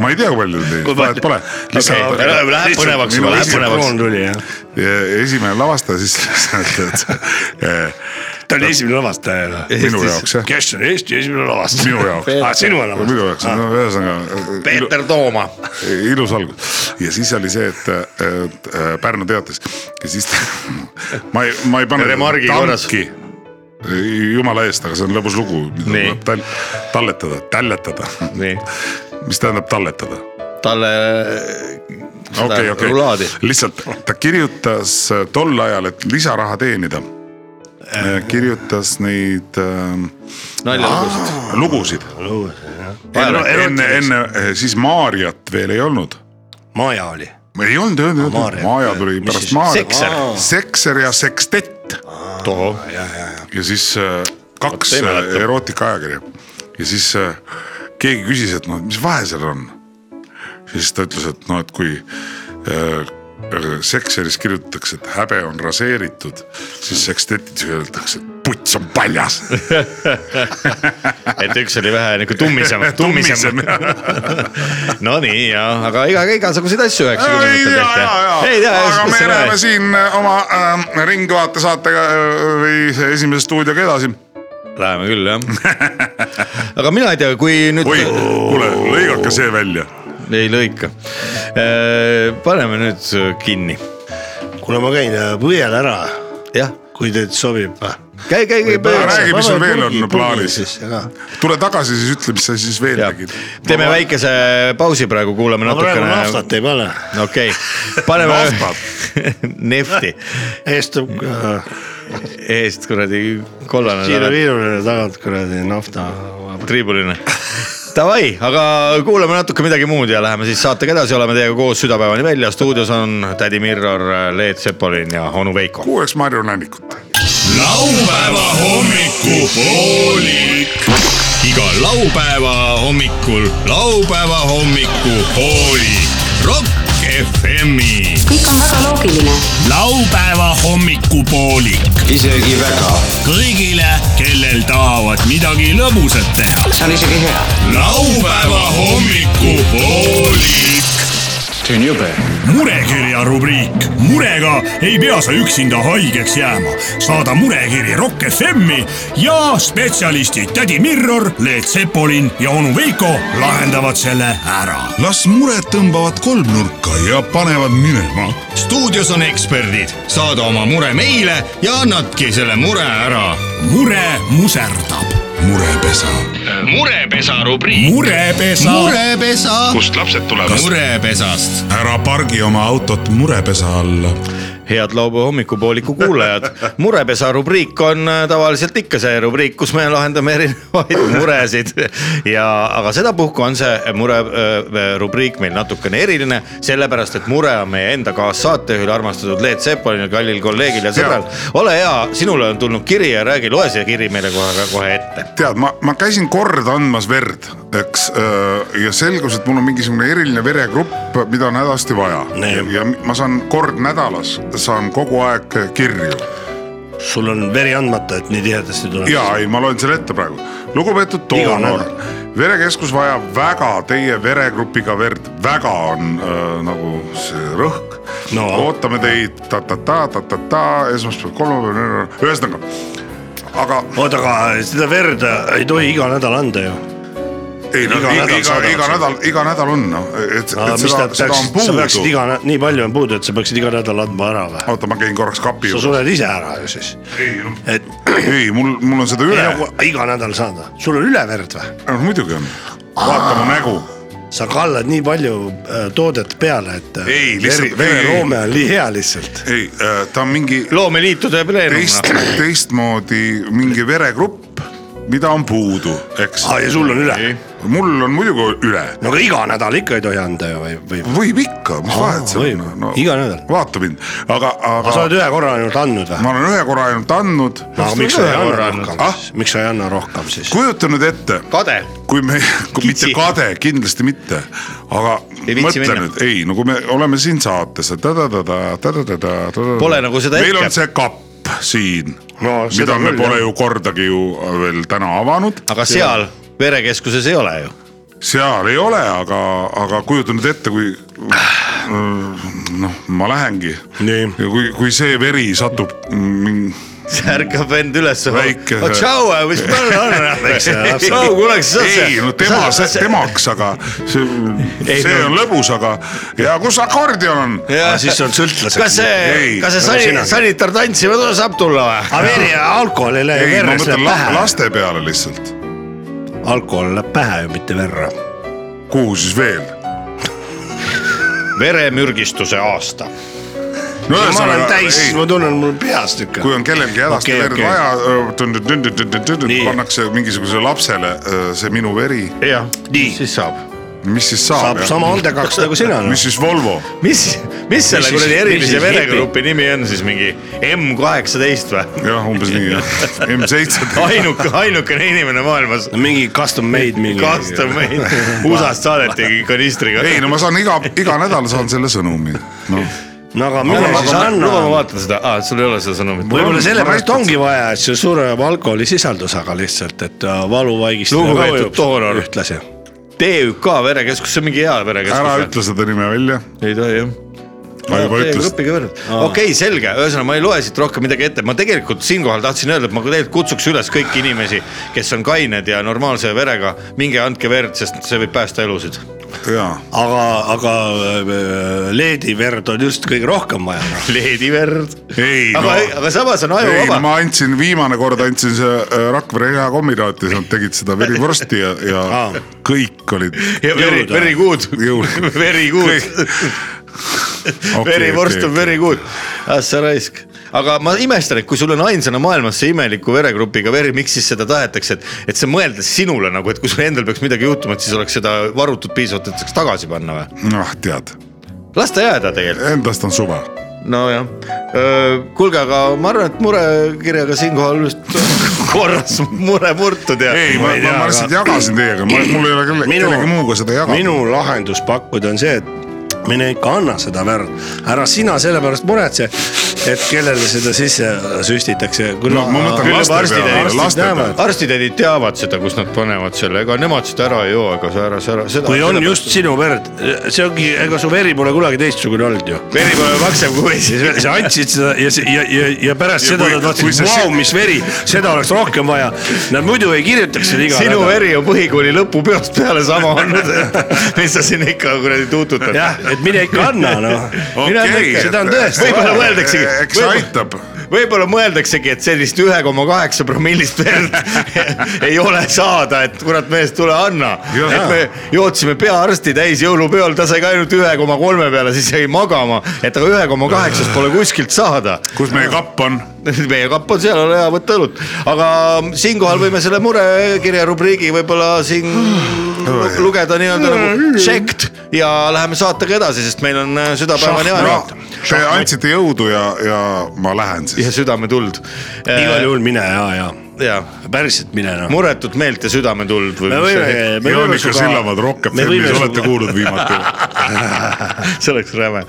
Speaker 3: ma ei tea , kui palju ta tegi , vahet pole .
Speaker 2: Läheb läheb põnevaks juba , läheb
Speaker 3: esimene
Speaker 2: põnevaks .
Speaker 4: kroon tuli jah ,
Speaker 3: esimene lavastaja siis äh, ,
Speaker 4: ta oli esimene lavastaja ju .
Speaker 3: minu jaoks jah ,
Speaker 4: kes on Eesti esimene lavastaja ?
Speaker 3: minu jaoks.
Speaker 4: ah, . sinu lavastaja .
Speaker 3: minu jaoks , no ühesõnaga . äh,
Speaker 2: Peeter Tooma .
Speaker 3: ilus algus ja siis oli see , et äh, et, äh, Pärnu teatas ja siis ta, ma ei , ma ei pane .
Speaker 2: Remargi korras. .
Speaker 3: jumala eest , aga see on lõbus lugu , mida
Speaker 2: Nii.
Speaker 3: tuleb tal- , talletada , talletada ,
Speaker 2: nii ,
Speaker 3: mis tähendab talletada .
Speaker 2: talle .
Speaker 3: okei , okei
Speaker 2: rulaadi .,
Speaker 3: lihtsalt ta kirjutas äh, tol ajal , et lisaraha teenida ,
Speaker 2: Äh.
Speaker 3: kirjutas neid äh,
Speaker 2: naljalugusid .
Speaker 3: lugusid enne , enne , siis Maarjat veel ei olnud .
Speaker 4: Maja oli .
Speaker 3: ei olnud , ei olnud ,
Speaker 4: Maarjat.
Speaker 3: Maaja tuli
Speaker 4: Mis
Speaker 3: pärast
Speaker 4: siis?
Speaker 3: Maarjat .
Speaker 2: Sekser ,
Speaker 3: Sekser ja Sekstett ja siis äh, kaks
Speaker 2: Vot ei
Speaker 3: äh,
Speaker 2: mäleta.
Speaker 3: erootikaajakirja ja siis äh, keegi küsis , et noh , mis vahe seal on . siis ta ütles , et noh , et kui äh, Sekseris kirjutatakse , et häbe on raseeritud , siis sekstetis öeldakse , et puts on paljas .
Speaker 2: et üks oli vähe nagu tummisem , tummisem . Nonii ja , aga iga , igasuguseid asju
Speaker 3: ei
Speaker 2: üheksakümnendatel
Speaker 3: tea , ja ,
Speaker 2: tehti . ei
Speaker 3: ja
Speaker 2: tea ,,
Speaker 3: aga me
Speaker 2: ja
Speaker 3: läheme . siin äh, oma äh, Ringvaate saatega äh, või see esimese stuudioga edasi .
Speaker 2: Läheme küll jah . aga mina ei tea , kui nüüd
Speaker 3: oi , kuule , lõigake see välja .
Speaker 2: ei lõika . paneme nüüd kinni ,
Speaker 4: kuule , ma käin äh, põiel ära ,
Speaker 2: jah ,
Speaker 4: kui teid sobib .
Speaker 2: käi , käi , käi .
Speaker 3: räägi, mis sul veel on plaanis.
Speaker 4: ma
Speaker 3: tule tagasi , siis ütle , mis sa siis veel tegid .
Speaker 2: teeme väikese pausi praegu , kuulame
Speaker 4: praegu
Speaker 2: natukene .
Speaker 4: naftat ei pane ,
Speaker 2: okei , paneme
Speaker 3: Naftat.
Speaker 2: nefti
Speaker 4: eestub ka
Speaker 2: eest kuradi
Speaker 4: Siiri
Speaker 2: kollane ,
Speaker 4: Viirule tagant kuradi nafta .
Speaker 2: triibuline . Davai , aga kuulame natuke midagi muud ja läheme siis saatega edasi , oleme teiega koos südapäevani välja , stuudios on tädi Mirror , Leet Sepolin ja onu Veiko .
Speaker 3: kuulaks Marju Nännikut .
Speaker 1: laupäeva hommikupoolik . iga laupäeva hommikul laupäeva hommikupoolik . Rock FM-i .
Speaker 5: kõik on väga loogiline .
Speaker 6: laupäeva hommikupoolik . isegi väga . kõigile , kellel tahavad midagi lõbusat teha .
Speaker 5: see on isegi hea .
Speaker 1: laupäeva hommikupoolik .
Speaker 6: murekirja rubriik . murega ei pea sa üksinda haigeks jääma . saada murekiri Rock FM-i ja spetsialistid tädi Mirror , Leet Sepolin ja onu Veiko lahendavad selle ära
Speaker 7: las mured tõmbavad kolmnurka ja panevad minema .
Speaker 1: stuudios on eksperdid , saada oma mure meile ja annadki selle mure ära .
Speaker 6: mure muserdab .
Speaker 7: murepesa .
Speaker 1: murepesa rubriik .
Speaker 6: murepesa mure. .
Speaker 1: murepesa .
Speaker 3: kust lapsed tulevad ?
Speaker 1: murepesast .
Speaker 7: ära pargi oma autot murepesa alla .
Speaker 2: head laupäeva hommikupooliku kuulajad , murepesa rubriik on äh, tavaliselt ikka see rubriik , kus me lahendame erinevaid muresid ja , aga sedapuhku on see mure äh, rubriik meil natukene eriline , sellepärast et mure on meie enda kaassaatejuhil , armastatud Leet Sepolil , kallil kolleegil ja sõbral . ole hea , sinule on tulnud kiri ja räägi , loe see kiri meile kohe , kohe ette .
Speaker 3: tead , ma , ma käisin kord andmas verd , eks , ja selgus , et mul on mingisugune eriline veregrupp , mida on hädasti vaja .
Speaker 4: Nee.
Speaker 3: ja ma saan kord nädalas , saan kogu aeg kirju .
Speaker 4: sul on veri andmata , et nii tihedasti tuleb .
Speaker 3: ja ei , ma loen selle ette praegu . lugupeetud
Speaker 4: Iga
Speaker 3: Toonoor
Speaker 4: nädal. ,
Speaker 3: verekeskus vajab väga teie veregrupiga verd , väga on äh, nagu see rõhk
Speaker 4: No.
Speaker 3: ootame teid ta-ta-ta , ta-ta-ta , esmaspäev , kolmapäev , ühesõnaga , aga
Speaker 4: oota , aga seda verd äh, ei tohi iga nädal anda ju .
Speaker 3: ei no
Speaker 4: Iga
Speaker 3: iga,
Speaker 4: nädal
Speaker 3: iga ,
Speaker 4: saadavad
Speaker 3: iga
Speaker 4: seda.
Speaker 3: nädal , iga nädal on noh , et ,
Speaker 4: aga
Speaker 3: et
Speaker 4: mis
Speaker 3: seda
Speaker 4: tähendab ,
Speaker 3: seda on
Speaker 4: peaksid , sa peaksid
Speaker 3: puudu .
Speaker 4: iga , nii palju on puudu , et sa peaksid iga nädal andma ära või ?
Speaker 3: oota , ma käin korraks kapi
Speaker 4: sa
Speaker 3: juures .
Speaker 4: sured ise ära ju siis , et
Speaker 3: ei , mul , mul on seda
Speaker 4: ei
Speaker 3: üle ,
Speaker 4: nagu iga nädal saada , sul on üleverd või ?
Speaker 3: muidugi on . vaata mu nägu .
Speaker 4: sa kallad nii palju äh, toodet peale , et äh,
Speaker 3: Ei,
Speaker 4: veri ,
Speaker 3: lihtsalt- ei, ei.
Speaker 4: veriloome on nii hea lihtsalt .
Speaker 3: ei , ta on mingi
Speaker 2: loomeliitude pleenum
Speaker 3: teist , teistmoodi mingi veregrupp , mida on puudu , eks .
Speaker 4: aa , ja sul on üle ,
Speaker 3: mul on muidugi üle ,
Speaker 4: no aga iga nädal ikka ei tohi anda ju või , või ?
Speaker 3: võib ikka , mis vahet seal
Speaker 4: võib.
Speaker 3: on no, .
Speaker 4: Iga nädal.
Speaker 3: vaata mind , aga ,
Speaker 4: aga sa
Speaker 3: aga
Speaker 4: oled ühe korra ainult andnud või ?
Speaker 3: ma olen ühe korra ainult andnud .
Speaker 4: aga miks sa ei anna rohkem
Speaker 3: Ah?
Speaker 4: siis , miks sa ei anna rohkem siis ?
Speaker 3: kujuta nüüd ette
Speaker 2: kade ,
Speaker 3: kui me , mitte
Speaker 2: Kitsi.
Speaker 3: kade , kindlasti mitte , aga
Speaker 2: Ei viitsi
Speaker 3: mõtle
Speaker 2: minna.
Speaker 3: nüüd , ei , no kui me oleme siin saates ,
Speaker 2: Pole nagu seda
Speaker 3: meil
Speaker 2: hetke.
Speaker 3: on see kapp siin
Speaker 4: No,
Speaker 3: no, ,
Speaker 4: seda
Speaker 3: mida me
Speaker 4: küll,
Speaker 3: pole
Speaker 4: jah.
Speaker 3: ju kordagi ju veel täna avanud ,
Speaker 2: aga seal verekeskuses ei ole ju .
Speaker 3: seal ei ole , aga , aga kujuta nüüd ette , kui mm, noh , ma lähengi
Speaker 4: Nii.
Speaker 3: ja kui , kui see veri satub mm,
Speaker 2: see ärkab vend üles .
Speaker 3: Väike-
Speaker 2: tšau , mis mul
Speaker 4: Väikse
Speaker 2: on ?
Speaker 4: lapse-
Speaker 2: tšau , kuule , kas sa oled
Speaker 3: ei
Speaker 2: see-
Speaker 3: no tema ,
Speaker 2: sa- sa-
Speaker 3: temaks , aga see,
Speaker 2: Ei,
Speaker 3: see
Speaker 2: no-
Speaker 3: on lõbus , aga ja kus akordion on ?
Speaker 2: Jah.
Speaker 4: siis sa oled sõltlaseks.
Speaker 2: kas see
Speaker 3: Ei, ,
Speaker 2: kas see
Speaker 4: nagu
Speaker 2: sani,
Speaker 4: sinagi.
Speaker 2: sanitar tantsima tu- saab tulla või ?
Speaker 4: aga veri , alkohol ei lähe
Speaker 3: ei , ma
Speaker 4: verre , see
Speaker 3: mõtlen
Speaker 4: läheb
Speaker 3: la
Speaker 4: pähe .
Speaker 3: laste peale lihtsalt .
Speaker 4: alkohol läheb pähe ju , mitte verre .
Speaker 3: kuhu siis veel ?
Speaker 2: veremürgistuse aasta .
Speaker 3: no
Speaker 4: ma olen
Speaker 3: ühesõnaga,
Speaker 4: täis
Speaker 3: ei, ,
Speaker 4: ma tunnen , mul on peast ikka .
Speaker 3: kui on kellelgi hädasti
Speaker 4: Okei,
Speaker 3: okay, verd
Speaker 4: okei.
Speaker 3: okay. vaja ,
Speaker 4: Nii.
Speaker 3: pannakse mingisugusele lapsele öö, see minu veri
Speaker 2: jah ,
Speaker 4: nii ,
Speaker 2: siis saab .
Speaker 3: mis siis saab,
Speaker 4: saab
Speaker 3: saab ?
Speaker 4: sama andekaks nagu sina no.
Speaker 3: mis . siis Volvo ?
Speaker 2: mis , mis selle
Speaker 4: siis-
Speaker 2: kuradi
Speaker 4: mis
Speaker 2: erilise
Speaker 4: siis
Speaker 2: veregrupi nimi on siis mingi M kaheksateist või ?
Speaker 3: jah , umbes nii jah , M7 .
Speaker 2: ainuke , ainukene inimene maailmas
Speaker 4: mingi custom made mingi .
Speaker 2: custom made , USA-st saadetigi kanistriga .
Speaker 3: ei no ma saan iga , iga nädal saan selle sõnumi noh. .
Speaker 4: no aga mine siis
Speaker 2: luba ma
Speaker 4: anna .
Speaker 2: vaatan seda ah, , sul ei ole seda sõnumit .
Speaker 4: võib-olla
Speaker 3: Ma
Speaker 4: sellepärast
Speaker 3: näitan
Speaker 4: ongi vaja , et see suurem alkoholisisaldus , aga lihtsalt , et äh, valu
Speaker 2: Lugupeetud
Speaker 4: vaigistab
Speaker 2: doonor. .
Speaker 4: ühtlasi .
Speaker 2: TÜK verekeskus , see on mingi hea verekeskus .
Speaker 3: ära . ütle seda nime välja .
Speaker 2: ei tohi jah
Speaker 3: ma juba ütlesin .
Speaker 2: õppige võrreld . okei , selge , ühesõnaga ma ei loe siit rohkem midagi ette , ma tegelikult siinkohal tahtsin öelda , et ma tegelikult kutsuks üles kõiki inimesi , kes on kained ja normaalse verega , minge andke verd , sest see võib päästa elusid .
Speaker 3: jaa ,
Speaker 4: aga , aga äh, leediverd on just kõige rohkem vaja noh. no. .
Speaker 2: leediverd .
Speaker 3: ei
Speaker 2: aga
Speaker 3: no ,
Speaker 2: aga samas on
Speaker 3: ei no
Speaker 2: ajuvaba .
Speaker 3: ma andsin , viimane kord andsin see äh, Rakvere hea kombinaati , nad tegid seda verivorsti ja , ja
Speaker 4: Aa.
Speaker 3: kõik olid .
Speaker 2: ja veri ,
Speaker 4: jõulude.
Speaker 2: verikuud ,
Speaker 3: Jõulude.
Speaker 2: verikuud , verivorst on . verikuud . ah sa raisk , aga ma imestan , et kui sul on ainsana maailmas see imeliku veregrupiga veri , miks siis seda tahetakse , et , et see mõeldes sinule nagu , et kui sul endal peaks midagi juhtuma , et siis oleks seda varutud piisavalt , et saaks tagasi panna või ?
Speaker 3: noh , tead ,
Speaker 2: las ta jääda tegelikult ,
Speaker 3: endast on suva .
Speaker 2: nojah . kuulge , aga ma arvan , et murekirjaga siinkohal vist korras mure murtud ja .
Speaker 3: ei , ma , ma,
Speaker 4: tea,
Speaker 3: ma
Speaker 4: aga-
Speaker 3: lihtsalt jagasin teiega , mul ei ole kelle , kellegi muuga seda jagada .
Speaker 4: minu lahendus pakkuda on see , et mine ikka anna seda värv , ära sina selle pärast muretse , et kellele seda sisse süstitakse . noh,
Speaker 3: no ma mõtlen
Speaker 2: Küll
Speaker 3: laste
Speaker 2: arstid-
Speaker 3: peale ,
Speaker 2: arstid
Speaker 3: laste peale .
Speaker 4: näevad.
Speaker 2: arstitädid teavad seda , kus nad panevad selle , ega nemad seda ära ei joo , aga sa ära , sa ära .
Speaker 4: kui on just sinu verd , see ongi , ega su veri pole kunagi teistsugune olnud ju .
Speaker 2: veri pole maksem kui siis veel .
Speaker 4: sa andsid seda ja , ja , ja , ja pärast
Speaker 3: Ja
Speaker 4: ja seda
Speaker 3: kui-
Speaker 4: nad
Speaker 3: kui
Speaker 4: vaatasid ,
Speaker 3: see
Speaker 4: vau
Speaker 3: si- ,
Speaker 4: mis veri , seda oleks rohkem vaja . Nad muidu ei kirjutaks seda iga
Speaker 2: sinu . veri on põhikooli lõpupeost peale sama olnud , et mis sa siin ikka kuradi tuututad .
Speaker 4: jah , et mine ikka anna noh .
Speaker 2: Mina
Speaker 3: okei
Speaker 2: mõtlen, ,
Speaker 4: seda on tõesti.
Speaker 2: Võib-olla mõeldaksegi.
Speaker 3: eks
Speaker 2: Võib-
Speaker 3: aitab .
Speaker 2: võib-olla mõeldaksegi , et sellist ühe koma kaheksa promillist verd ei ole saada , et kurat mees , tule anna .
Speaker 3: Jah.
Speaker 2: et me jootsime peaarsti täis jõulupeol , ta sai ka ainult ühe koma kolme peale , siis jäi magama , et aga ühe koma kaheksast pole kuskilt saada .
Speaker 3: kus meie kapp on ?
Speaker 2: meie kapp on seal , ole hea , võta õlut . aga siinkohal võime selle murekirja rubriigi võib-olla siin lu- lugeda nii-öelda nagu checked ja läheme saatega edasi , sest meil on äh, südapäevane
Speaker 3: no
Speaker 2: aeg
Speaker 3: te andsite jõudu ja , ja ma lähen
Speaker 2: ja
Speaker 3: siis .
Speaker 2: südametuld .
Speaker 4: igal juhul mine ja , ja
Speaker 2: jaa
Speaker 4: päriselt mine noh .
Speaker 2: muretut meelt ja südametuld või
Speaker 4: me
Speaker 2: mis
Speaker 4: võime
Speaker 2: see ,
Speaker 4: me võime
Speaker 3: Jaanika Sillamäed Rock
Speaker 4: me võime
Speaker 3: FM-is olete
Speaker 4: suga-
Speaker 3: kuulnud viimati ?
Speaker 2: see oleks räme .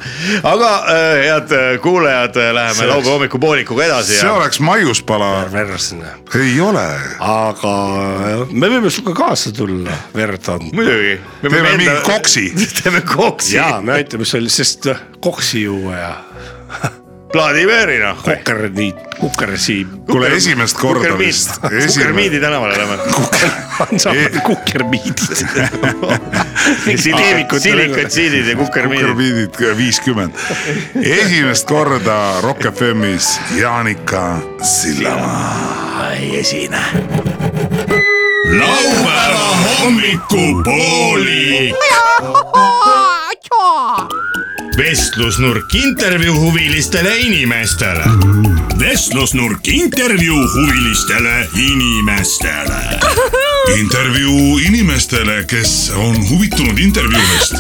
Speaker 2: aga äh, head äh, kuulajad , läheme
Speaker 4: oleks-
Speaker 2: laupäeva hommikupoolikuga edasi
Speaker 3: see
Speaker 2: ja
Speaker 3: oleks maiuspala ,
Speaker 4: versne ,
Speaker 3: ei ole .
Speaker 4: aga me võime sinuga kaasa tulla verd andma .
Speaker 2: muidugi .
Speaker 3: teeme mingi koksi .
Speaker 2: teeme koksi ,
Speaker 4: ja me aitame sul , sest noh, koksi juua ja
Speaker 2: Vladimiri noh .
Speaker 4: kukerniit , kukersi .
Speaker 3: kuule , esimest korda vist .
Speaker 2: Kukermiidi tänavale lähme .
Speaker 4: ansambel Kukermiidid .
Speaker 2: silikud , silikatsiidid ja kukermiidid .
Speaker 3: Kukermiidid äh, viiskümmend . esimest korda Rock FM-is Jaanika Sillamaa .
Speaker 6: laupäeva hommikupooli . vestlusnurk intervjuu huvilistele inimestele . vestlusnurk intervjuu huvilistele inimestele .
Speaker 7: intervjuu inimestele , kes on huvitunud intervjuudest .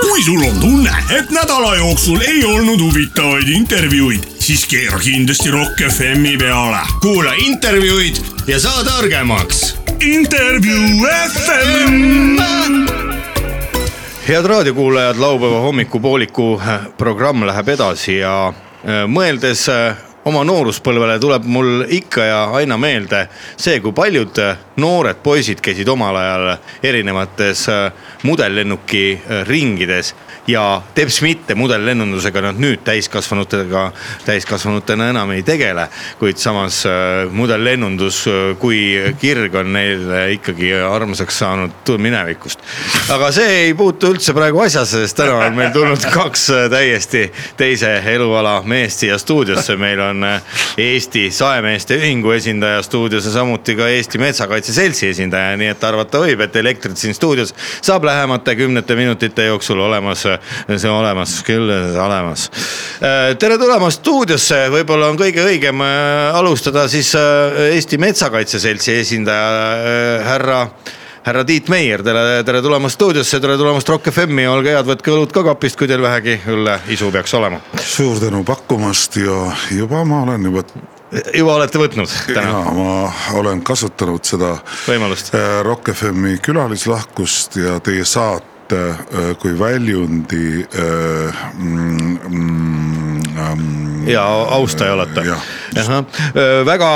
Speaker 6: kui sul on tunne , et nädala jooksul ei olnud huvitavaid intervjuuid , siis keera kindlasti Rock FM-i peale .
Speaker 2: kuula intervjuud ja saa targemaks
Speaker 6: intervjuu FM .
Speaker 2: head raadiokuulajad , laupäeva hommikupooliku äh, programm läheb edasi ja äh, mõeldes äh, oma nooruspõlvele tuleb mul ikka ja aina meelde see , kui paljud äh, noored poisid käisid omal ajal erinevates äh, mudellennuki äh, ringides ja teps mitte mudellennundusega nad nüüd täiskasvanutega , täiskasvanutena enam ei tegele . kuid samas äh, mudellennundus , kui kirg on neil ikkagi armsaks saanud tu- minevikust . aga see ei puutu üldse praegu asjasse , sest täna on meil tulnud kaks äh, täiesti teise eluala meest siia stuudiosse . meil on äh, Eesti Saemeeste Ühingu esindaja stuudios ja samuti ka Eesti Metsakaitse Seltsi esindaja , nii et arvata võib , et elektrit siin stuudios saab lähemate kümnete minutite jooksul olemas , see on olemas küll , olemas . tere tulemast stuudiosse , võib-olla on kõige õigem äh, alustada siis äh, Eesti Metsakaitse Seltsi esindaja äh, härra härra Tiit Meier , tere , tere tulemast stuudiosse , tere tulemast Rock FM-i , olge head , võtke õlut ka kapist , kui teil vähegi õlleisu peaks olema .
Speaker 3: suur tänu pakkumast ja juba ma olen juba ,
Speaker 2: juba olete võtnud täna
Speaker 3: ja ma olen kasutanud seda
Speaker 2: võimalust ?
Speaker 3: äh, Rock FM-i külalislahkust ja teie saate äh, kui väljundi äh, mm, mm, ähm,
Speaker 2: ja austaja olete
Speaker 3: Jah. .
Speaker 2: väga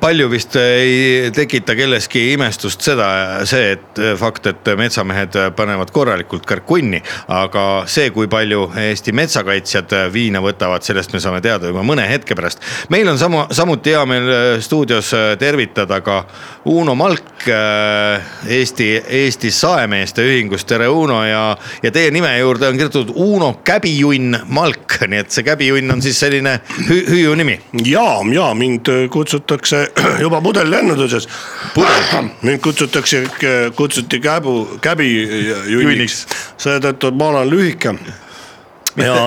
Speaker 2: palju vist ei tekita kelleski imestust seda , see , et äh, fakt , et metsamehed panevad korralikult kärkunni , aga see , kui palju Eesti metsakaitsjad viina võtavad , sellest me saame teada juba mõne hetke pärast . meil on sama , samuti hea meel äh, stuudios tervitada ka Uno Malk äh, Eesti , Eesti Saemeeste Ühingust , tere Uno ja , ja teie nime juurde on kirjutatud Uno Käbijunn Malk , nii et see käbijunn on siis selline hü- , hüüu nimi .
Speaker 4: ja , ja mind äh, kutsutakse juba pudellennunduses . mind kutsutakse , kutsuti käbu , käbijunniks , seetõttu ma olen lühike . ja ,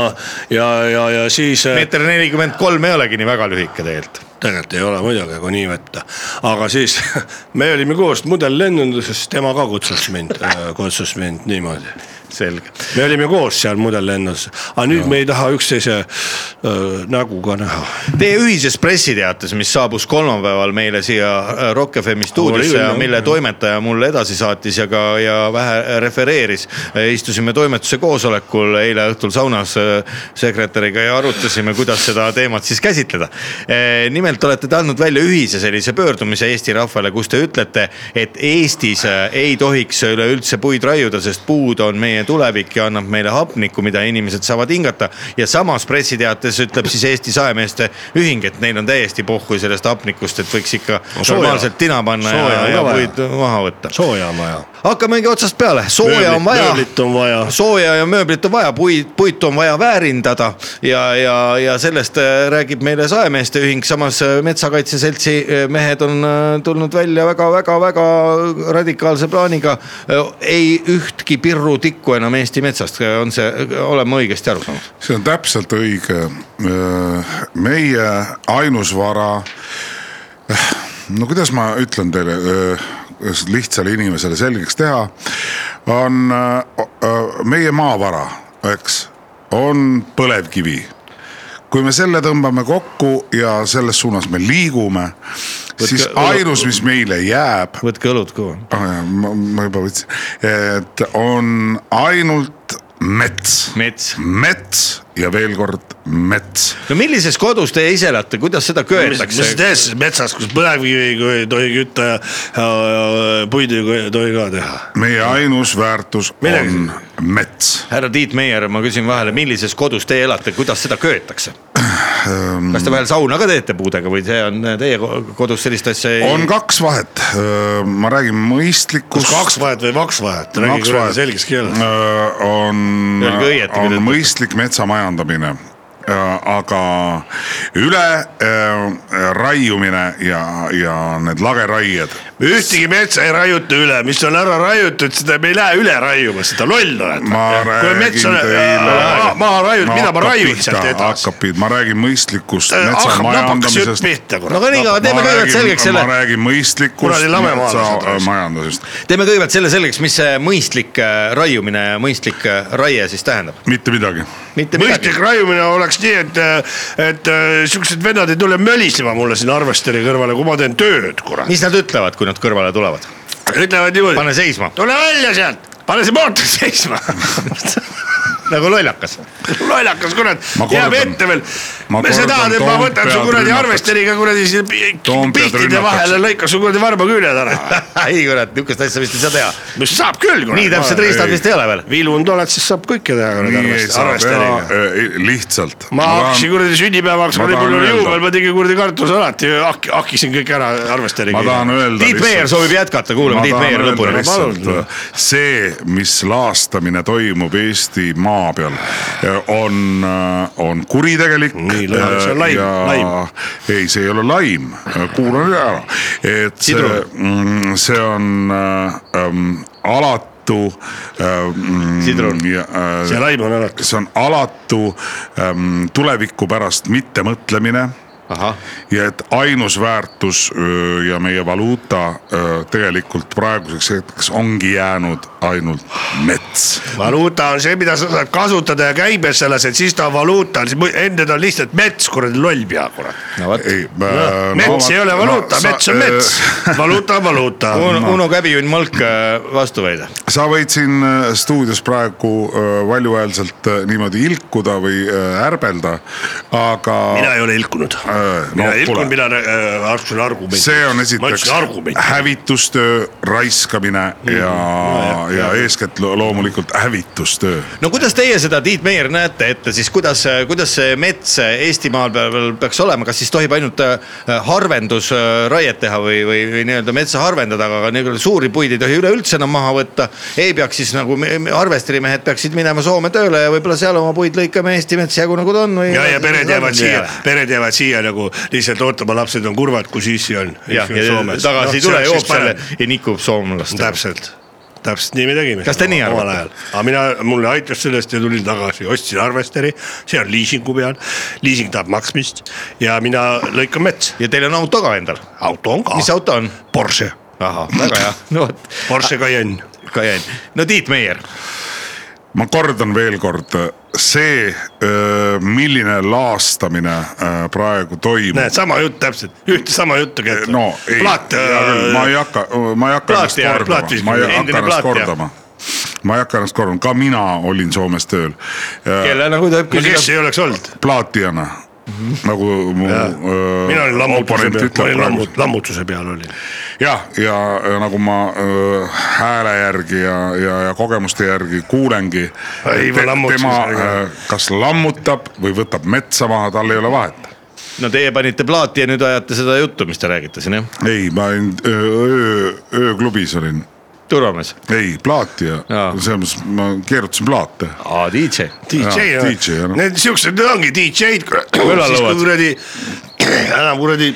Speaker 4: ja , ja , ja siis . äh,
Speaker 2: meeter nelikümmend kolm ei olegi nii väga lühike tegelikult .
Speaker 4: tegelikult ei ole muidugi , kui nii võtta , aga siis me olime koos mudellennunduses , tema ka kutsus mind , kutsus mind niimoodi .
Speaker 2: selge ,
Speaker 4: me olime koos seal mudellennus , aga nüüd no. me ei taha üksteise öö, nägu ka näha .
Speaker 2: teie ühises pressiteates , mis saabus kolmapäeval meile siia äh, Rock FM-i stuudiosse
Speaker 4: Oli küll,
Speaker 2: ja
Speaker 4: jah.
Speaker 2: mille toimetaja mulle edasi saatis ja ka , ja vähe refereeris . istusime toimetuse koosolekul eile õhtul saunas äh, sekretäriga ja arutasime , kuidas seda teemat siis käsitleda . nimelt olete te andnud välja ühise sellise pöördumise Eesti rahvale , kus te ütlete , et Eestis äh, ei tohiks üleüldse puid raiuda , sest puud on meie tulevik ja annab meile hapnikku , mida inimesed saavad hingata . ja samas pressiteates ütleb siis Eesti Saemeeste Ühing , et neil on täiesti pohhui sellest hapnikust , et võiks ikka
Speaker 4: sooja.
Speaker 2: normaalselt tina panna ja,
Speaker 4: Sooja
Speaker 2: ja,
Speaker 4: on
Speaker 2: ja
Speaker 4: ka vaja.
Speaker 2: puid maha võtta .
Speaker 4: sooja on vaja .
Speaker 2: hakkamegi otsast peale , sooja on vaja
Speaker 4: äh, mööblit on vaja .
Speaker 2: sooja ja mööblit on vaja , puid , puitu on vaja väärindada ja , ja , ja sellest äh, räägib meile Saemeeste Ühing , samas äh, Metsakaitse Seltsi äh, mehed on äh, tulnud välja väga-väga-väga radikaalse plaaniga . ei ühtki pirrutikku enam Eesti metsast , on see , oleme õigesti aru saanud ?
Speaker 3: see on täpselt õige . meie ainus vara . no kuidas ma ütlen teile , lihtsale inimesele selgeks teha , on öö, öö, meie maavara , eks , on põlevkivi kui me selle tõmbame kokku ja selles suunas me liigume , siis ainus , mis meile jääb ,
Speaker 2: võtke õlut kõva .
Speaker 3: Ah, ma, ma juba võtsin , et on ainult mets .
Speaker 2: mets .
Speaker 3: mets ja veel kord mets .
Speaker 2: no millises kodus te ise elate , kuidas seda
Speaker 4: mis , mis sa
Speaker 2: köetakse ?
Speaker 4: teed siis metsas , kus põlevkivi ei tohi kütta ja, ja, ja puidu ei tohi ka teha ?
Speaker 3: meie ainus väärtus on
Speaker 4: Millega-
Speaker 3: mets .
Speaker 2: härra Tiit Meier , ma küsin vahele , millises kodus teie elate , kuidas seda köetakse ? kas te vahel sauna ka teete puudega või see on teie ko- kodus sellist asja ei ?
Speaker 3: on kaks vahet , ma räägin mõistlikust .
Speaker 4: kus kaks vahet või maks vahet , räägi kuradi selges keeles .
Speaker 3: on ,
Speaker 2: Öelge õieti, kui te
Speaker 3: on
Speaker 2: ütlete.
Speaker 3: mõistlik metsa majandamine . aga üle öö, raiumine ja , ja need lageraied
Speaker 4: ühtegi metsa ei raiuta üle , mis on ära raiutud , seda me ei lähe üle raiuma , seda loll oled .
Speaker 3: ma räägin teile .
Speaker 4: maha raiud , mida ma raiun sealt edasi ?
Speaker 3: hakkab pihta , ma räägin mõistlikust metsa
Speaker 4: hakkab napakas jutt
Speaker 3: majandamisest .
Speaker 4: pihta ,
Speaker 2: no aga
Speaker 4: kurat .
Speaker 2: nii , aga teeme kõigepealt selgeks selle
Speaker 3: ma , räägin mõistlikust
Speaker 4: Kuradi lamemaalased
Speaker 3: metsa
Speaker 4: raisk.
Speaker 3: majandamisest ,
Speaker 2: teeme kõigepealt selle selgeks , mis see mõistlik äh, raiumine ja mõistlik äh, raie siis tähendab .
Speaker 3: mitte midagi .
Speaker 2: mitte midagi
Speaker 4: mõistlik . raiumine oleks nii , et , et äh, siuksed vennad ei tule mölisema mulle siin arvesteri kõrvale , kui ma teen tööd , kurat .
Speaker 2: mis nad ütlevad , kui nad kõrvale tulevad ?
Speaker 4: ütlevad niimoodi ,
Speaker 2: pane seisma ,
Speaker 4: tule välja sealt , pane see mootor seisma
Speaker 2: nagu lollakas .
Speaker 4: lollakas kurat
Speaker 3: Ma ,
Speaker 4: jääb
Speaker 3: kordan-
Speaker 4: ette veel .
Speaker 3: ma
Speaker 4: mis sa
Speaker 3: kordan,
Speaker 4: tahad , et ma
Speaker 3: Toompead
Speaker 4: võtan su kuradi
Speaker 3: rünnakaks.
Speaker 4: arvesteriga kuradi siin pi-
Speaker 3: Toompead
Speaker 4: pihtide
Speaker 3: rünnakaks.
Speaker 4: vahele , lõikan su kuradi varbaküüned ära .
Speaker 2: ei kurat , niisugust asja vist ei saa teha .
Speaker 4: mis saab küll kurat .
Speaker 2: nii täpsed riistad vist ei ole veel .
Speaker 4: vilund oled , siis saab kõike teha
Speaker 3: nii ei
Speaker 4: kuradi
Speaker 3: saa
Speaker 4: arvesteriga .
Speaker 3: teha , lihtsalt .
Speaker 4: ma hakkasin kuradi sünnipäevaks ,
Speaker 3: ma
Speaker 4: oli
Speaker 3: tahan
Speaker 4: mul
Speaker 3: öelda-
Speaker 4: juubel , ma tegin kuradi kartusalati , hakkisin kõik ära arvesteriga .
Speaker 3: ma tahan öelda .
Speaker 2: Tiit Meier soovib jätkata , kuulame Tiit Meier lõpuni .
Speaker 3: äh, see , mis laastamine toimub Eesti maa peal , on , on kuritegelik .
Speaker 4: Nii, lõhe- see on laim, laim. .
Speaker 3: ei , see ei ole laim , kuula nüüd ära , et see mm,
Speaker 2: Sidrun. ,
Speaker 3: see on ähm, alatu ähm, .
Speaker 2: Sidrun.
Speaker 4: see laim on alati .
Speaker 3: see on alatu ähm, tuleviku pärast mittemõtlemine
Speaker 2: ahah ,
Speaker 3: ja et ainus väärtus öö, ja meie valuuta öö, tegelikult praeguseks hetkeks ongi jäänud ainult mets .
Speaker 4: valuuta on see , mida sa saad kasutada ja käibes selles , et siis ta on valuuta , enne ta on lihtsalt mets , kuradi loll pea , kurat .
Speaker 2: no vot .
Speaker 3: Äh,
Speaker 4: mets ei ole valuuta , mets on mets , valuuta on valuuta .
Speaker 2: Uno Käbijunn Malk , äh, vastuväide .
Speaker 3: sa võid siin äh, stuudios praegu äh, valjuhäälselt äh, niimoodi ilkuda või äh, ärbelda , aga .
Speaker 4: mina ei ole ilkunud .
Speaker 3: Äh, no
Speaker 4: mina ei
Speaker 3: kuule.
Speaker 4: ilkunud , mina äh, astusin argumenti .
Speaker 3: see on
Speaker 4: ma
Speaker 3: esiteks
Speaker 4: ütlesin argumenti .
Speaker 3: hävitustöö , raiskamine ja , ja eeskätt lo- loomulikult hävitustöö .
Speaker 2: no kuidas teie seda , Tiit Meier , näete ette siis , kuidas , kuidas see mets Eestimaal peal peaks olema , kas siis tohib ainult äh, harvendusraiet teha või , või , või nii-öelda metsa harvendada , aga nii-öelda suuri puid ei tohi üleüldse enam maha võtta . ei peaks siis nagu me- me- harvesterimehed peaksid minema Soome tööle ja võib-olla seal oma puid lõikame Eesti metsa jagu nagu ta on või .
Speaker 4: ja , ja pered jäävad siia , pered jäävad siia nagu lihtsalt ootama , lapsed on kurvad , kui sissi on .
Speaker 2: jah , ja
Speaker 4: Noh,
Speaker 2: tagasi ei tule , joob selle . ja nikub soomlast .
Speaker 4: täpselt , täpselt nii me tegime .
Speaker 2: Kas te nii arvate? ?
Speaker 4: aga mina , mulle aitas sellest ja tulin tagasi , ostsin arvesteri , see on liisingu peal , liising tahab maksmist ja mina lõikan metsa ,
Speaker 2: ja teil on auto ka endal ,
Speaker 4: auto on ka .
Speaker 2: mis auto on ?
Speaker 4: Porsche ,
Speaker 2: ahah , väga hea , no vot ,
Speaker 4: Porsche Cayenne .
Speaker 2: Cayenne , no Tiit Meier ,
Speaker 3: ma kordan veel kord , see , milline laastamine öö, praegu toimub .
Speaker 4: näed , sama jutt täpselt , ühte sama juttu kätte .
Speaker 3: no ei ,
Speaker 4: plaat , äh,
Speaker 3: ma ei hakka , ma ei hakka
Speaker 2: plaat
Speaker 3: ennast
Speaker 2: jääb,
Speaker 3: kordama
Speaker 2: plaat , viskab.
Speaker 3: ma ei hakka
Speaker 2: Endine
Speaker 3: ennast
Speaker 2: plaat jääb.
Speaker 3: kordama . ma ei hakka ennast kordama , ka mina olin Soomes tööl .
Speaker 2: kelle nagu ta
Speaker 4: no kes ei oleks olnud ,
Speaker 3: plaatijana , nagu mu öö,
Speaker 4: Mhm. mina olin lammutuse
Speaker 3: oponent
Speaker 4: peal , ma
Speaker 3: ütleb
Speaker 4: olin
Speaker 3: praegu .
Speaker 4: lammut- , lammutuse peal olin .
Speaker 3: jah , ja ja nagu ma öö, hääle järgi ja , ja , ja kogemuste järgi kuulengi .
Speaker 4: Ei, ma lammutasin
Speaker 3: tema
Speaker 4: sellega.
Speaker 3: öö, kas lammutab või võtab metsa maha , tal ei ole vahet
Speaker 2: no teie panite plaati ja nüüd ajate seda juttu , mis te räägite siin jah ,
Speaker 3: ei , ma olin öö- öö , ööklubis olin ,
Speaker 2: turvamees .
Speaker 3: ei plaatija
Speaker 2: Jaa. ,
Speaker 3: selles mõttes ma keerutasin plaate
Speaker 2: aa , DJ .
Speaker 4: DJ
Speaker 3: Jaa,
Speaker 4: on
Speaker 3: DJ noh. on. ,
Speaker 4: need siuksed , need ongi DJ-d , siis
Speaker 2: Külalauad.
Speaker 4: kui kuradi , enam kuradi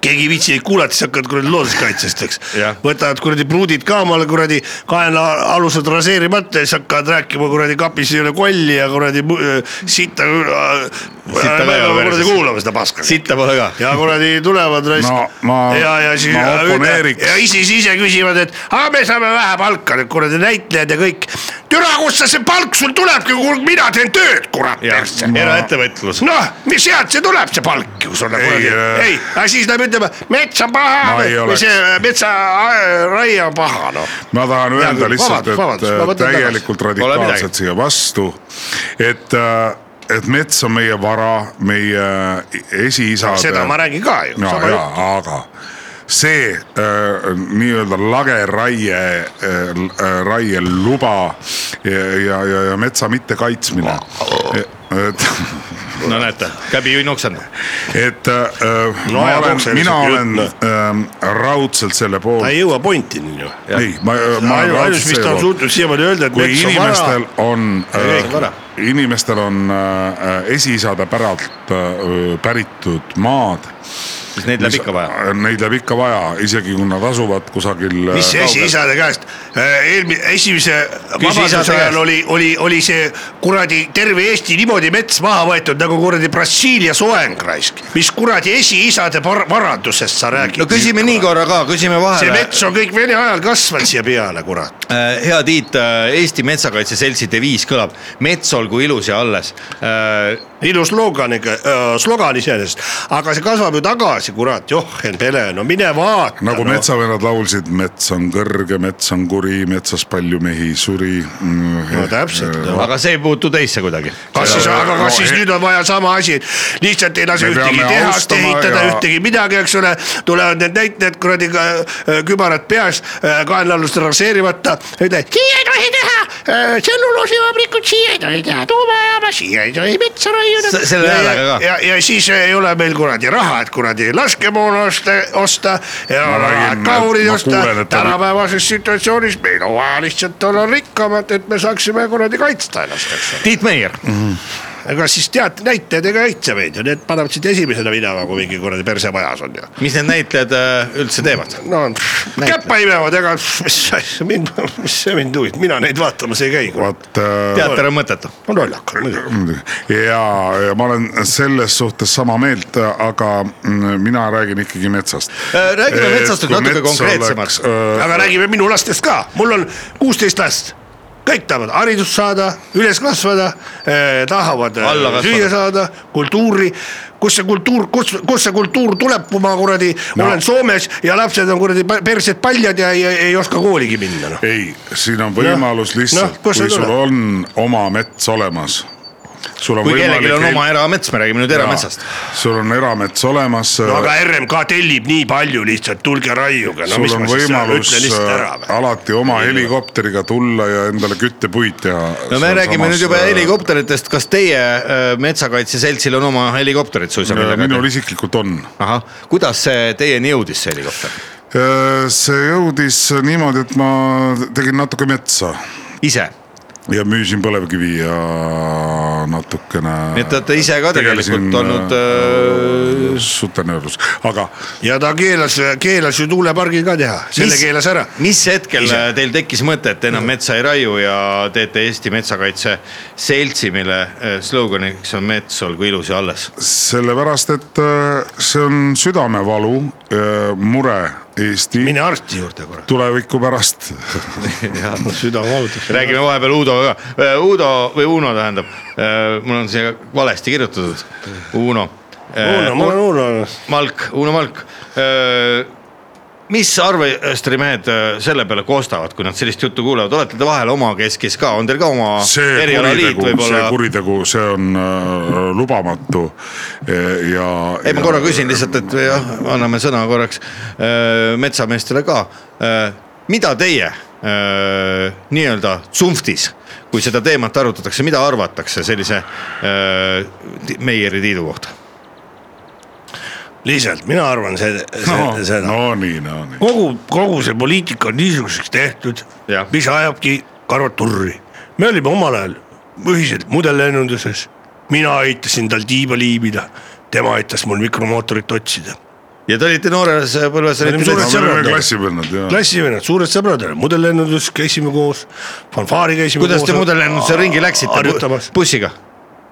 Speaker 4: keegi ei viitsi neid kuulata , siis hakkavad kuradi looduskaitsjast , eks
Speaker 2: Jah. .
Speaker 4: võtavad kuradi pruudid ka omale kuradi kaenlaalused raseerimata ja siis hakkavad rääkima kuradi kapis ei ole kolli ja kuradi mu- äh, sita .
Speaker 2: ka ei ole
Speaker 4: kuradi
Speaker 2: päris.
Speaker 4: kuulame seda paska .
Speaker 2: sitta pole ka .
Speaker 4: ja kuradi tulevad raisk
Speaker 3: No ma-
Speaker 4: ja , ja siis
Speaker 3: ma
Speaker 4: ja ütle-
Speaker 3: oponeeriks.
Speaker 4: ja siis ise küsivad , et aga me saame vähe palka , need kuradi näitlejad ja kõik . türa , kust sa see palk sul tulebki , mina teen tööd , kurat
Speaker 2: jah ,
Speaker 4: persse .
Speaker 2: eraettevõtlus .
Speaker 4: noh , mis sealt see tuleb , see palk ju sulle
Speaker 3: Ei,
Speaker 4: kuradi ,
Speaker 3: äh,
Speaker 4: ei , aga siis läheb ütlema , mets on paha
Speaker 3: Ma ei
Speaker 4: või- või
Speaker 3: oleks.
Speaker 4: see äh, metsaraie on paha noh .
Speaker 3: ma tahan
Speaker 4: Hea
Speaker 3: öelda
Speaker 4: küll,
Speaker 3: lihtsalt , et
Speaker 4: vabandust, vabandust, ma
Speaker 3: äh,
Speaker 4: võtan tagasi.
Speaker 3: täielikult
Speaker 2: midagi.
Speaker 3: radikaalselt siia vastu , et , et mets on meie vara , meie e-, esiisade .
Speaker 4: seda ma räägin ka ju ,
Speaker 3: ja ,
Speaker 4: sama
Speaker 3: ja
Speaker 4: jutt ,
Speaker 3: aga see äh, nii-öelda lageraie äh, , raieluba ja , ja, ja , ja metsa mittekaitsmine . et ,
Speaker 2: no näete , käbi ju noksanud .
Speaker 3: et äh,
Speaker 4: No
Speaker 3: no, ma
Speaker 4: ja
Speaker 3: olen ,
Speaker 4: kogu see
Speaker 3: mina
Speaker 4: jutt,
Speaker 3: olen
Speaker 4: noh.
Speaker 3: äh, raudselt selle
Speaker 4: ta
Speaker 3: poolt
Speaker 4: ei . jõua pointini ju .
Speaker 3: ei , ma , ma olen raudselt
Speaker 4: ainus , mis
Speaker 3: selle
Speaker 4: ta on
Speaker 3: poolt
Speaker 4: suutnud siiamaani öelda , et
Speaker 3: kui
Speaker 4: mets
Speaker 3: inimestel on
Speaker 4: on vara
Speaker 3: äh,
Speaker 2: kõik vara. ,
Speaker 3: inimestel on äh, esiisade päralt äh, päritud maad .
Speaker 2: siis neid läheb ikka vaja .
Speaker 3: Neid läheb ikka vaja , isegi kui nad asuvad kusagil . äh,
Speaker 4: mis esiisade käest , eelmise , esimese
Speaker 2: isade
Speaker 4: vabaduse
Speaker 2: käest.
Speaker 4: ajal oli , oli , oli see kuradi terve Eesti niimoodi mets maha võetud nagu kuradi Brasiilia soeng raisk . mis kuradi esiisade par- varandusest sa räägid ?
Speaker 2: no küsime nii . korra ka , küsime
Speaker 4: see
Speaker 2: vahele .
Speaker 4: mets on kõik Vene ajal kasvanud siia peale , kurat .
Speaker 2: hea Tiit , Eesti Metsakaitse Seltsi deviis kõlab mets olgu ilus ja alles . Äh,
Speaker 4: ilus slogan ikka , slogan iseenesest , aga see kasvab ju tagasi , kurat , Jochen Pele , no mine vaata . noh.
Speaker 3: nagu
Speaker 4: no.
Speaker 3: metsavennad laulsid , mets on kõrge , mets on kuri , metsas palju mehi suri . Mm, eh,
Speaker 4: no täpselt no. .
Speaker 2: aga see ei puutu teisse kuidagi .
Speaker 4: kas siis , aga
Speaker 3: No,
Speaker 4: kas siis
Speaker 3: he-
Speaker 4: nüüd on vaja sama asi , et lihtsalt ei lase
Speaker 3: Me
Speaker 4: ühtegi
Speaker 3: peame
Speaker 4: tehast
Speaker 3: austama
Speaker 4: ehitada
Speaker 3: ja-
Speaker 4: ja... , ühtegi midagi , eks ole , tulevad need näitlejad kuradi ka- äh, kübarad peas , kaenlaalust raseerimata , ütlevad siia ei tohi teha , tselluloosivabrikud siia ei tohi teha , tuumajaama siia ei tohi metsa raiuda
Speaker 2: Se- . selle häälega ka.
Speaker 4: ja , ja siis ei ole meil kuradi raha , et kuradi laskemoona osta , osta ja
Speaker 3: Ma
Speaker 4: raha,
Speaker 3: räägin,
Speaker 4: et kahurid
Speaker 3: ma
Speaker 4: osta
Speaker 3: kuulen, et , ta-
Speaker 4: tänapäevases situatsioonis meil on vaja lihtsalt olla rikkamad , et me saaksime kuradi kaitsta ennast , eks ole .
Speaker 2: Tiit Meier ,
Speaker 4: ega siis teate , näitajad ega aita meid ju , need panevad sind esimesena minema , kui mingi kuradi perse majas on ju .
Speaker 2: mis need näitlejad äh, üldse teevad ?
Speaker 4: no pff, käppa imevad , ega pff, mis asja , mind , mis see mind huvitab , mina neid vaatamas ei käi .
Speaker 3: vot äh,
Speaker 2: teater on mõttetu .
Speaker 4: no lollakad muidugi .
Speaker 3: muidugi. ja , ja ma olen selles suhtes sama meelt , aga mm, mina räägin ikkagi metsast . Eh,
Speaker 2: Äh, räägime metsast nüüd natuke konkreetsemaks.
Speaker 3: äh,
Speaker 4: aga räägime minu lastest ka , mul on kuusteist last kõik tahavad haridust saada , üles kasvada eh, , tahavad eh,
Speaker 2: Alla kasvada.
Speaker 4: süüa saada , kultuuri . kus see kultuur , kus , kus see kultuur tuleb , kui ma kuradi no. olen Soomes ja lapsed on kuradi pa- persed paljad ja ei, ei oska kooligi minna noh .
Speaker 3: ei , siin on võimalus
Speaker 4: Noh,
Speaker 3: lihtsalt
Speaker 4: noh,
Speaker 3: no, ,
Speaker 4: kus see
Speaker 3: kui sul
Speaker 4: tuleb?
Speaker 3: on oma mets olemas . sul on
Speaker 2: kui kellelgi on
Speaker 3: võimalik .
Speaker 2: oma eramets , me räägime nüüd erametsast .
Speaker 3: sul on eramets olemas .
Speaker 4: no aga RMK tellib nii palju lihtsalt , tulge raiuge , no mis
Speaker 3: sul on
Speaker 4: ma siis seal
Speaker 3: võimalus
Speaker 4: ütlen lihtsalt ära
Speaker 3: äh,
Speaker 4: või .
Speaker 3: alati oma helikopteriga tulla ja endale küttepuid teha . äh,
Speaker 2: no me räägime nüüd juba . helikopteritest , kas teie äh, metsakaitseseltsil on oma helikopterid suisa ?
Speaker 3: Äh, minul isiklikult on
Speaker 2: ahah , kuidas see teieni jõudis , see helikopter ?
Speaker 3: Äh, see jõudis niimoodi , et ma tegin natuke metsa
Speaker 2: ise ,
Speaker 3: ja müüsin põlevkivi ja natukene .
Speaker 2: nii et te olete ise ka tegelikult olnud äh,
Speaker 3: sutenöörlus , aga
Speaker 4: ja ta keelas , keelas ju tuulepargi ka teha , selle
Speaker 2: Mis-
Speaker 4: keelas ära .
Speaker 2: mis hetkel ise. teil tekkis mõte , et enam metsa ei raiu ja teete Eesti Metsakaitse Seltsi , mille äh, sloganiks on mets olgu ilus ja alles .
Speaker 3: sellepärast , et äh, see on südamevalu , mure Eesti
Speaker 4: mine arsti juurde korra .
Speaker 3: tuleviku pärast .
Speaker 4: süda valutab .
Speaker 2: räägime vahepeal Uudoga ka , Uudo või Uno tähendab , mul on siia valesti kirjutatud , Uno .
Speaker 4: Uno , ma olen Uno .
Speaker 2: Malk , Uno Malk . mis arvestrimehed öö, selle peale kostavad , kui nad sellist juttu kuulevad , olete te vahel oma keskis ka , on teil ka oma
Speaker 3: see
Speaker 2: erialaliit
Speaker 3: kuritegu , see
Speaker 2: Noh, võib-olla ?
Speaker 3: kuritegu , see on äh, lubamatu eh, ja .
Speaker 2: ei , ma korra küsin lihtsalt , et jah , anname sõna korraks öö, metsameestele ka . mida teie öö, nii-öelda tsunftis , kui seda teemat arutatakse , mida arvatakse sellise öö, Ti- Meieri Tiidu kohta ?
Speaker 4: lihtsalt mina arvan , see, see
Speaker 3: no,
Speaker 4: no, , seda no. .
Speaker 3: no nii , no nii .
Speaker 4: kogu , kogu see poliitika on niisuguseks tehtud
Speaker 2: Jah. ,
Speaker 4: mis ajabki karvad turri . me olime omal ajal ühiselt mudellennunduses , mina aitasin tal tiiba liibida , tema aitas mul mikromootorit otsida .
Speaker 2: ja te olite noores põlves .
Speaker 4: Me olime
Speaker 3: me
Speaker 4: suured
Speaker 3: oleme
Speaker 4: sõbrad.
Speaker 3: klassivennad ja .
Speaker 4: klassivennad , suured sõbrad olid , mudellennundus käisime koos , fanfaari käisime
Speaker 2: kuidas
Speaker 4: koos .
Speaker 2: te mudellennunduse ringi läksite
Speaker 4: harjutamas ,?
Speaker 2: bussiga ?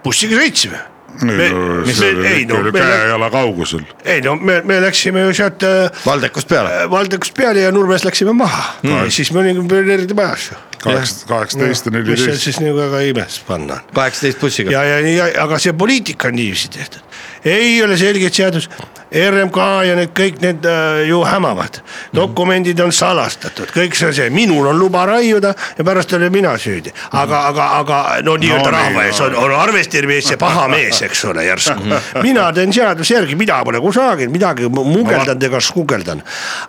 Speaker 4: bussiga sõitsime .
Speaker 3: ei no see
Speaker 4: ei no
Speaker 3: oli
Speaker 4: me ,
Speaker 3: käe-jala kaugusel .
Speaker 4: ei no me , me läksime ju sealt äh,
Speaker 2: Valdekust peale .
Speaker 4: Valdekust peale ja Nurmes läksime maha mm. , siis me olime pioneeride majas ju .
Speaker 3: kaheksa , kaheksateist ja
Speaker 4: mis seal
Speaker 3: neliteist .
Speaker 4: siis nagu väga imes panna on .
Speaker 2: kaheksateist bussiga .
Speaker 4: ja , ja , ja , aga see poliitika on niiviisi tehtud . ei ole selget seadust , RMK ja need kõik need äh, ju hämavad .
Speaker 3: Mhm.
Speaker 4: dokumendid on salastatud , kõik see , see , minul on luba raiuda ja pärast olen mina süüdi . aga , aga , aga no nii-öelda
Speaker 3: No
Speaker 4: no,
Speaker 3: nii,
Speaker 4: rahva ees
Speaker 3: no
Speaker 4: on , on arvestirmees ja paha mees , eks ole , järsku . Mhm. mina teen seaduse järgi , mina pole kusagilt midagi mu- mugeldan ega skugeldan .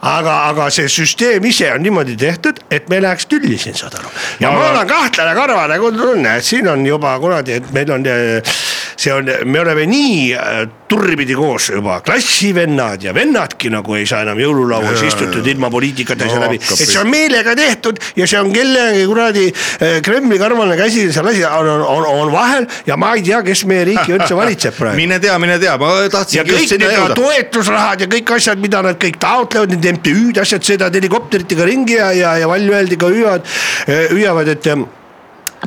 Speaker 4: aga , aga see süsteem ise on niimoodi tehtud , et me läheks tülli siin , saad aru . ja
Speaker 3: Aga-
Speaker 4: ma olen kahtlane karvane tunne , et siin on juba kuradi , et meil on , see on , me oleme nii äh, turripidi koos juba , klassivennad ja vennadki nagu ei saa enam jõululauas istutud ilma poliitikata
Speaker 3: No
Speaker 4: asja läbi ,
Speaker 3: hakkab
Speaker 4: et see on
Speaker 3: pihta.
Speaker 4: meelega tehtud ja see on kellegi kuradi äh, Kremli karvane käsi seal asi on, on, on, on vahel ja ma ei tea , kes meie riiki üldse valitseb praegu
Speaker 2: mine tea , mine tea , ma
Speaker 4: ja
Speaker 2: tahtsin
Speaker 4: kõik
Speaker 2: just sinna
Speaker 4: need
Speaker 2: jõuda .
Speaker 4: toetusrahad ja kõik asjad , mida nad kõik taotlevad , need MTÜ-d , asjad sõidavad helikopteritega ringi ja , ja , ja valjuhääldiga hüüavad , hüüavad , et em,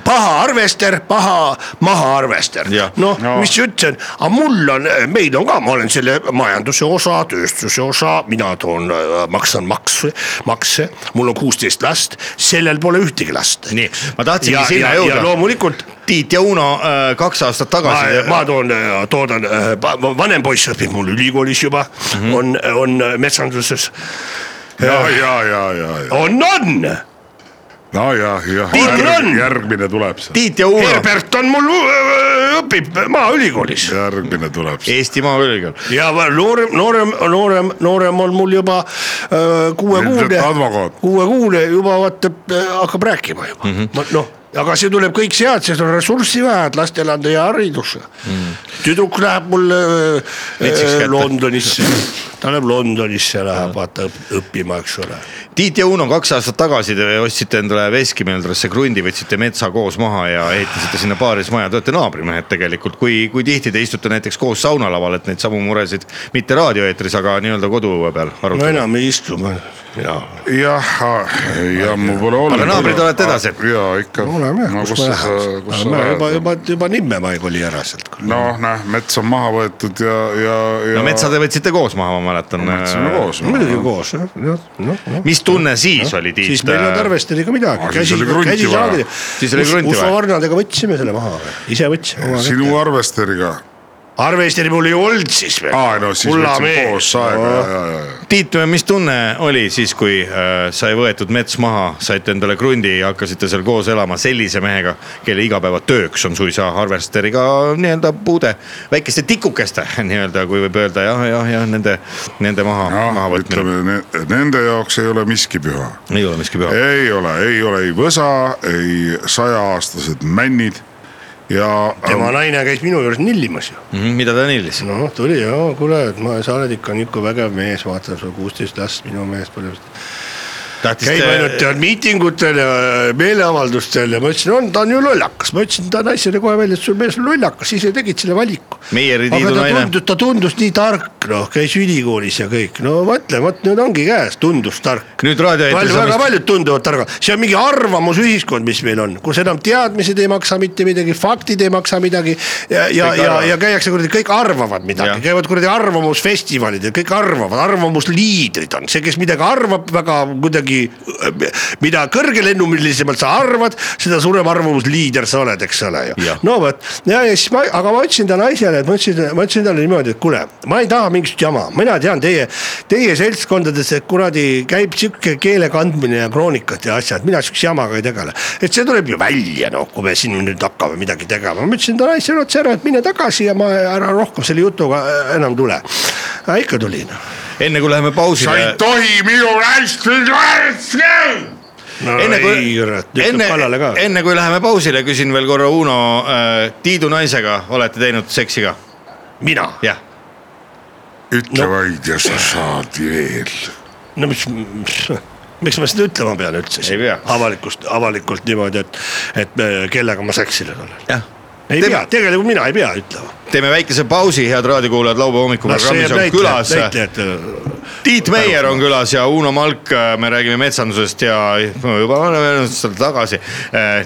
Speaker 4: paha arvester , paha mahaarvester
Speaker 2: Jah. .
Speaker 4: noh
Speaker 3: No.
Speaker 4: no. , mis see üldse on , aga mul on , meil on ka , ma olen selle majanduse osa , tööstuse osa , mina toon , maksan makse , makse , mul on kuusteist last , sellel pole ühtegi last .
Speaker 2: nii , ma tahtsingi
Speaker 4: ja ,
Speaker 2: sinna
Speaker 4: ja , ja
Speaker 2: jõuda .
Speaker 4: loomulikult
Speaker 2: Tiit ja Uno äh, kaks aastat
Speaker 4: ma ,
Speaker 2: tagasi .
Speaker 4: ma toon , toodan , vanem poiss õpib mul ülikoolis juba mm , -hmm. on , on metsanduses .
Speaker 3: ja , ja , ja , ja , ja ,
Speaker 4: on , on ,
Speaker 3: no ja , ja
Speaker 4: Tiit Runn! .
Speaker 3: järgmine tuleb see ,
Speaker 2: Tiit ja Uno ,
Speaker 4: Herbert on mul , õpib eh, maaülikoolis
Speaker 3: järgmine tuleb see .
Speaker 2: Eestimaa ülikool .
Speaker 4: ja va- noorem , noorem , noorem , noorem on mul juba äh, öö, kuuekuune
Speaker 3: Ilmselt , advokaat.
Speaker 4: kuuekuune juba vaatab , hakkab rääkima juba mm -hmm. , noh aga see tuleb kõik sealt , sest on ressurssi vaja , et lastele anda hea haridus mm. . tüdruk läheb mul äh, öö,
Speaker 2: Metsiks
Speaker 4: öö,
Speaker 2: kätte.
Speaker 4: Londonisse , ta läheb Londonisse , läheb vaata õp- õppima , eks ole .
Speaker 2: Tiit ja Uno , kaks aastat tagasi te ostsite endale veskimõeldrasse krundi , võtsite metsa koos maha ja ehitasite sinna paaris maja , te olete naabrimehed tegelikult , kui , kui tihti te istute näiteks koos saunalaval , et neid samu muresid mitte raadioeetris , aga nii-öelda koduõue peal
Speaker 4: no
Speaker 2: arutada no, ?
Speaker 4: enam ei istu , ma , jaa .
Speaker 3: jah , ja mul pole olnud .
Speaker 2: Aga naabrid olete edasi?
Speaker 3: ja ikka . äh,
Speaker 4: oleme jah , kus ma lähen . ma juba , juba , juba nimme ma oli ära sealt .
Speaker 3: noh , näe , mets on maha võetud ja , ja , ja .
Speaker 2: no metsa te võtsite koos maha , ma mäletan .
Speaker 3: metsime koos .
Speaker 4: muidugi koos , jah , jah , noh , noh .
Speaker 2: mis tunne siis oli , Tiit ?
Speaker 4: siis meil ei olnud arvesteriga midagi
Speaker 3: Aa, . siis oli krunti vaja.
Speaker 2: Siis oli krunti vaja.
Speaker 4: usuvarnadega võtsime selle maha , ise võtsime .
Speaker 3: sinu arvesteriga .
Speaker 4: arvesteri mul ei olnud siis veel .
Speaker 3: aa , no siis võtsime koos aega ja , ja , ja , ja .
Speaker 2: Tiit , mis tunne oli siis , kui äh, sai võetud mets maha , saite endale krundi ja hakkasite seal koos elama sellise mehega , kelle igapäevatööks on suisa harvesteriga nii-öelda puude väikeste tikukeste nii-öelda , kui võib öelda jah , jah , jah nende , nende maha no, ,
Speaker 3: noh ,
Speaker 2: mahavõtmine .
Speaker 3: ütleme ne- nende jaoks ei ole miski püha .
Speaker 2: ei ole miski
Speaker 4: Eh.
Speaker 2: püha .
Speaker 3: ei ole , ei ole ei võsa , ei sajaaastased männid ja .
Speaker 4: tema naine käis minu juures nillimas ju .
Speaker 2: Mhm, mida ta nillis no. ?
Speaker 4: noh , tuli ja kuule , et ma , sa oled ikka nihuke vägev mees , vaata , sul kuusteist last , minu mees põhimõtteliselt .
Speaker 2: tahtis äh,
Speaker 4: käib ainult tead miitingutel ja äh, meeleavaldustel ja ma ütlesin , on , ta on ju lollakas , ma ütlesin ta naisele kohe välja , et sul mees on lollakas , ise tegid selle valiku .
Speaker 2: Meieri
Speaker 4: aga
Speaker 2: Tiidu
Speaker 4: ta
Speaker 2: naine.
Speaker 4: tundus , ta tundus nii tark , noh , käis ülikoolis ja kõik , no mõtle , vot nüüd ongi käes , tundus tark .
Speaker 2: nüüd raadioeetris
Speaker 4: palju , väga
Speaker 2: on vist
Speaker 4: paljud tunduvad targad , see on mingi arvamusühiskond , mis meil on , kus enam teadmised ei maksa mitte midagi , faktid ei maksa midagi . ja , ja , ja , ja käiakse kuradi , kõik arvavad midagi
Speaker 2: Jah. ,
Speaker 4: käivad kuradi arvamusfestivalid ja kõik arvavad , arvamusliidrid on see , kes midagi arvab väga kuidagi . mida kõrgelennumilisemalt sa arvad , seda suurem arvamusliider sa oled , eks ole ju
Speaker 2: Jah. .
Speaker 4: no vot , ja , ja siis ma , aga ma ütlesin ta naisele , et ma ütlesin , ma ütlesin talle niimoodi , et kuule , ma ei taha mingisugust jama , mina tean teie , teie seltskondades kuradi käib sihuke keele kandmine ja kroonikad ja asjad , mina sihukese jamaga ei tegele . et see tuleb ju välja , noh , kui me siin nüüd hakkame midagi tegema , ma ütlesin ta naisele otse ära , et mine tagasi ja ma ära rohkem selle jutuga äh, enam tule . aga ikka tuli noh .
Speaker 2: enne kui läheme
Speaker 3: sa ei
Speaker 2: pausile .
Speaker 3: tohi minu naist lasta .
Speaker 4: no
Speaker 2: enne
Speaker 4: ei
Speaker 2: kui ,
Speaker 4: kurat ,
Speaker 2: enne
Speaker 4: ütleb , kallale ka .
Speaker 2: enne kui läheme pausile , küsin veel korra Uno äh, , Tiidu naisega olete teinud seksi ka ?
Speaker 4: mina ,
Speaker 2: jah ,
Speaker 3: ütle vaid ja sa saad veel .
Speaker 4: no mis, mis miks ma seda ütlema pean üldse
Speaker 2: Ei pea.
Speaker 4: siis avalikust , avalikult niimoodi , et , et me- kellega ma seksinud olen .
Speaker 2: jah
Speaker 4: ei
Speaker 2: Teeme-
Speaker 4: Teeme. pea , tegelikult mina ei pea ütlema .
Speaker 2: teeme väikese pausi , head raadiokuulajad , laupäeva hommikul programmis on eh? külas
Speaker 4: eh,
Speaker 2: Tiit Meier on külas ja Uno Malk , me räägime metsandusest ja no juba oleme öelnud seda tagasi ,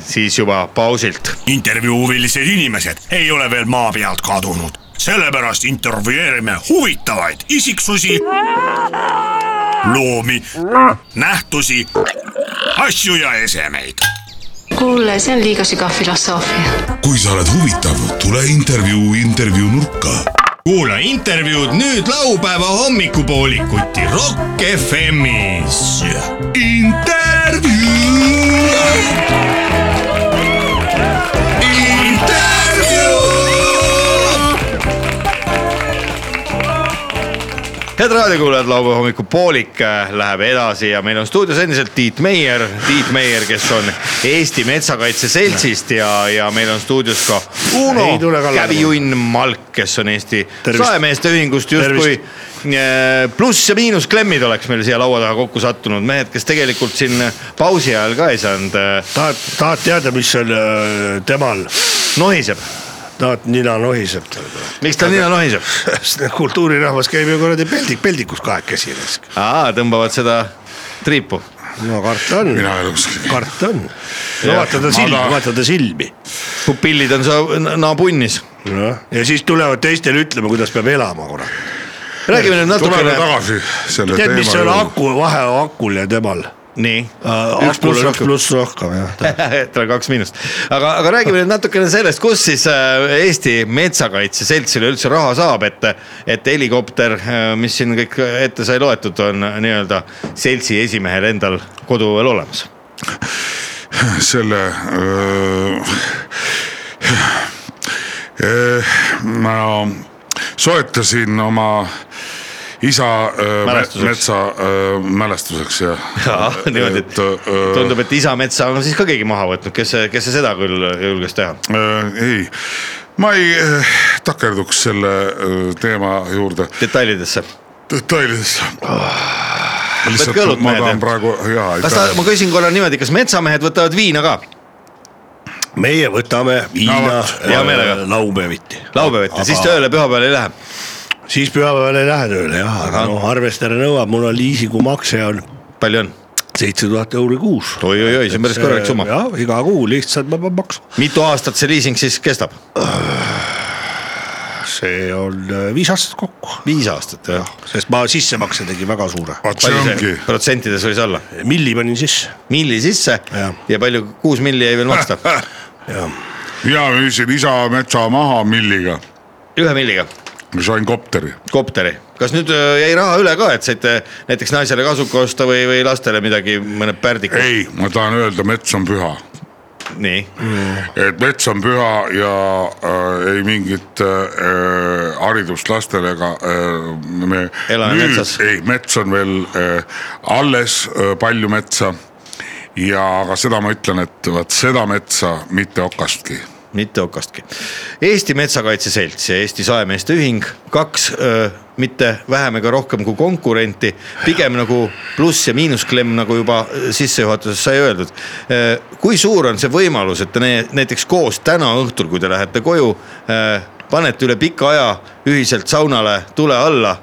Speaker 2: siis juba pausilt .
Speaker 6: intervjuu huvilised inimesed ei ole veel maa pealt kadunud , sellepärast intervjueerime huvitavaid isiksusi , loomi , nähtusi , asju ja esemeid .
Speaker 5: kuule , see on liiga sügav filosoofia .
Speaker 7: kui sa oled huvitav , tule intervjuu intervjuu nurka
Speaker 1: kuula intervjuud nüüd laupäeva hommikupoolikuti Rock FM-is . intervjuu . intervjuu .
Speaker 2: head raadiokuulajad , laupäeva hommikupoolik läheb edasi ja meil on stuudios endiselt Tiit Meier , Tiit Meier , kes on Eesti Metsakaitse Seltsist ja , ja meil on stuudios ka Uno
Speaker 4: Ei tule kallale.
Speaker 2: Kävijunn Malk , kes on Eesti
Speaker 4: Tervist.
Speaker 2: Saemeeste Ühingust justkui eh, pluss ja miinus klemmid oleks meil siia laua taha kokku sattunud mehed , kes tegelikult siin pausi ajal ka ei saanud eh,
Speaker 4: tahad , tahad teada , mis on äh, temal ,
Speaker 2: nohiseb ,
Speaker 4: tahad nina nohiseb tal .
Speaker 2: miks tal nina nohiseb ?
Speaker 4: kultuurirahvas käib ju kuradi peldik , peldikus kahekesi .
Speaker 2: aa , tõmbavad seda triipu .
Speaker 4: no karta on ,
Speaker 3: mina ei ole kuskil .
Speaker 4: karta on . no vaata ta silmi , vaata ta silmi .
Speaker 2: pupillid on sa napunnis .
Speaker 4: noh , ja siis tulevad teistele ütlema , kuidas peab elama , kurat .
Speaker 2: räägime nüüd
Speaker 3: tuleme
Speaker 2: natukene .
Speaker 3: tagasi selle
Speaker 4: tead , mis
Speaker 3: teema
Speaker 4: on
Speaker 3: juurde .
Speaker 4: aku , vahe on akul ja temal uh, ?
Speaker 2: nii .
Speaker 4: üks pluss , kaks pluss rohkem jah .
Speaker 2: tal on kaks miinust , aga , aga räägime nüüd natukene sellest , kus siis äh, Eesti Metsakaitse Selts üleüldse raha saab , et , et helikopter , mis siin kõik ette sai loetud , on nii-öelda seltsi esimehel endal koduõuel olemas .
Speaker 3: selle öö, öö, ma soetasin oma isa öö,
Speaker 2: Mälestuseks.
Speaker 3: me- metsa öö, mälestuseks ja .
Speaker 2: jaa , niimoodi , et äh, tundub , et isa metsa on siis ka keegi maha võtnud , kes , kes see seda küll julges teha .
Speaker 3: ei , ma ei öö, takerduks selle öö, teema juurde
Speaker 2: detailidesse
Speaker 3: detailidesse .
Speaker 2: võtke õlut
Speaker 3: lihtsalt ma tahan
Speaker 2: mehed .
Speaker 3: praegu , jaa ,
Speaker 2: kas ta , ma
Speaker 3: aitäh .
Speaker 2: küsin korra niimoodi , kas metsamehed võtavad viina ka ?
Speaker 4: meie võtame
Speaker 3: No
Speaker 4: viina
Speaker 3: vot,
Speaker 2: hea meelega.
Speaker 4: äh, laupäeviti .
Speaker 2: laupäeviti , siis . tööle pühapäeval ei lähe .
Speaker 4: siis pühapäeval ei lähe tööle jah , aga
Speaker 2: Ahah.
Speaker 4: noh , arvestaja nõuab , mul on liisingumakse on
Speaker 2: palju on ?
Speaker 4: seitse tuhat euri kuus .
Speaker 2: oi-oi-oi , see on päris korralik summa .
Speaker 4: jah , iga kuu lihtsalt ma pean maksma .
Speaker 2: mitu aastat see liising siis kestab ?
Speaker 4: see on äh, viis aastat kokku ,
Speaker 2: viis aastat jah .
Speaker 4: sest ma sissemakse tegin väga suure .
Speaker 3: vot see
Speaker 2: palju
Speaker 3: ongi
Speaker 2: see , protsentides võis olla ?
Speaker 4: milli panin sisse ,
Speaker 2: milli sisse ja,
Speaker 4: Jah.
Speaker 2: ja palju , kuus milli jäi veel maksta ?
Speaker 4: jah .
Speaker 3: mina müüsin isa metsa maha milliga ,
Speaker 2: ühe milliga ,
Speaker 3: sain kopteri .
Speaker 2: kopteri . kas nüüd öö, jäi raha üle ka , et saite näiteks naisele kasuka osta või , või lastele midagi , mõned pärdikud ?
Speaker 3: ei , ma tahan öelda , mets on püha
Speaker 2: nii ,
Speaker 3: et mets on püha ja äh, ei mingit äh, haridust lastele ega äh, me
Speaker 2: Elame metsas.
Speaker 3: ei , mets on veel äh, alles äh, palju metsa . ja aga seda ma ütlen , et vot seda metsa mitte okastki .
Speaker 2: mitte okastki . Eesti Metsakaitse Selts ja Eesti Saemeeste Ühing , kaks öö, mitte vähem ega rohkem kui konkurenti , pigem nagu pluss ja miinusklemm , nagu juba sissejuhatuses sai öeldud . kui suur on see võimalus , et te ne- näiteks koos täna õhtul , kui te lähete koju , panete üle pika aja ühiselt saunale tule alla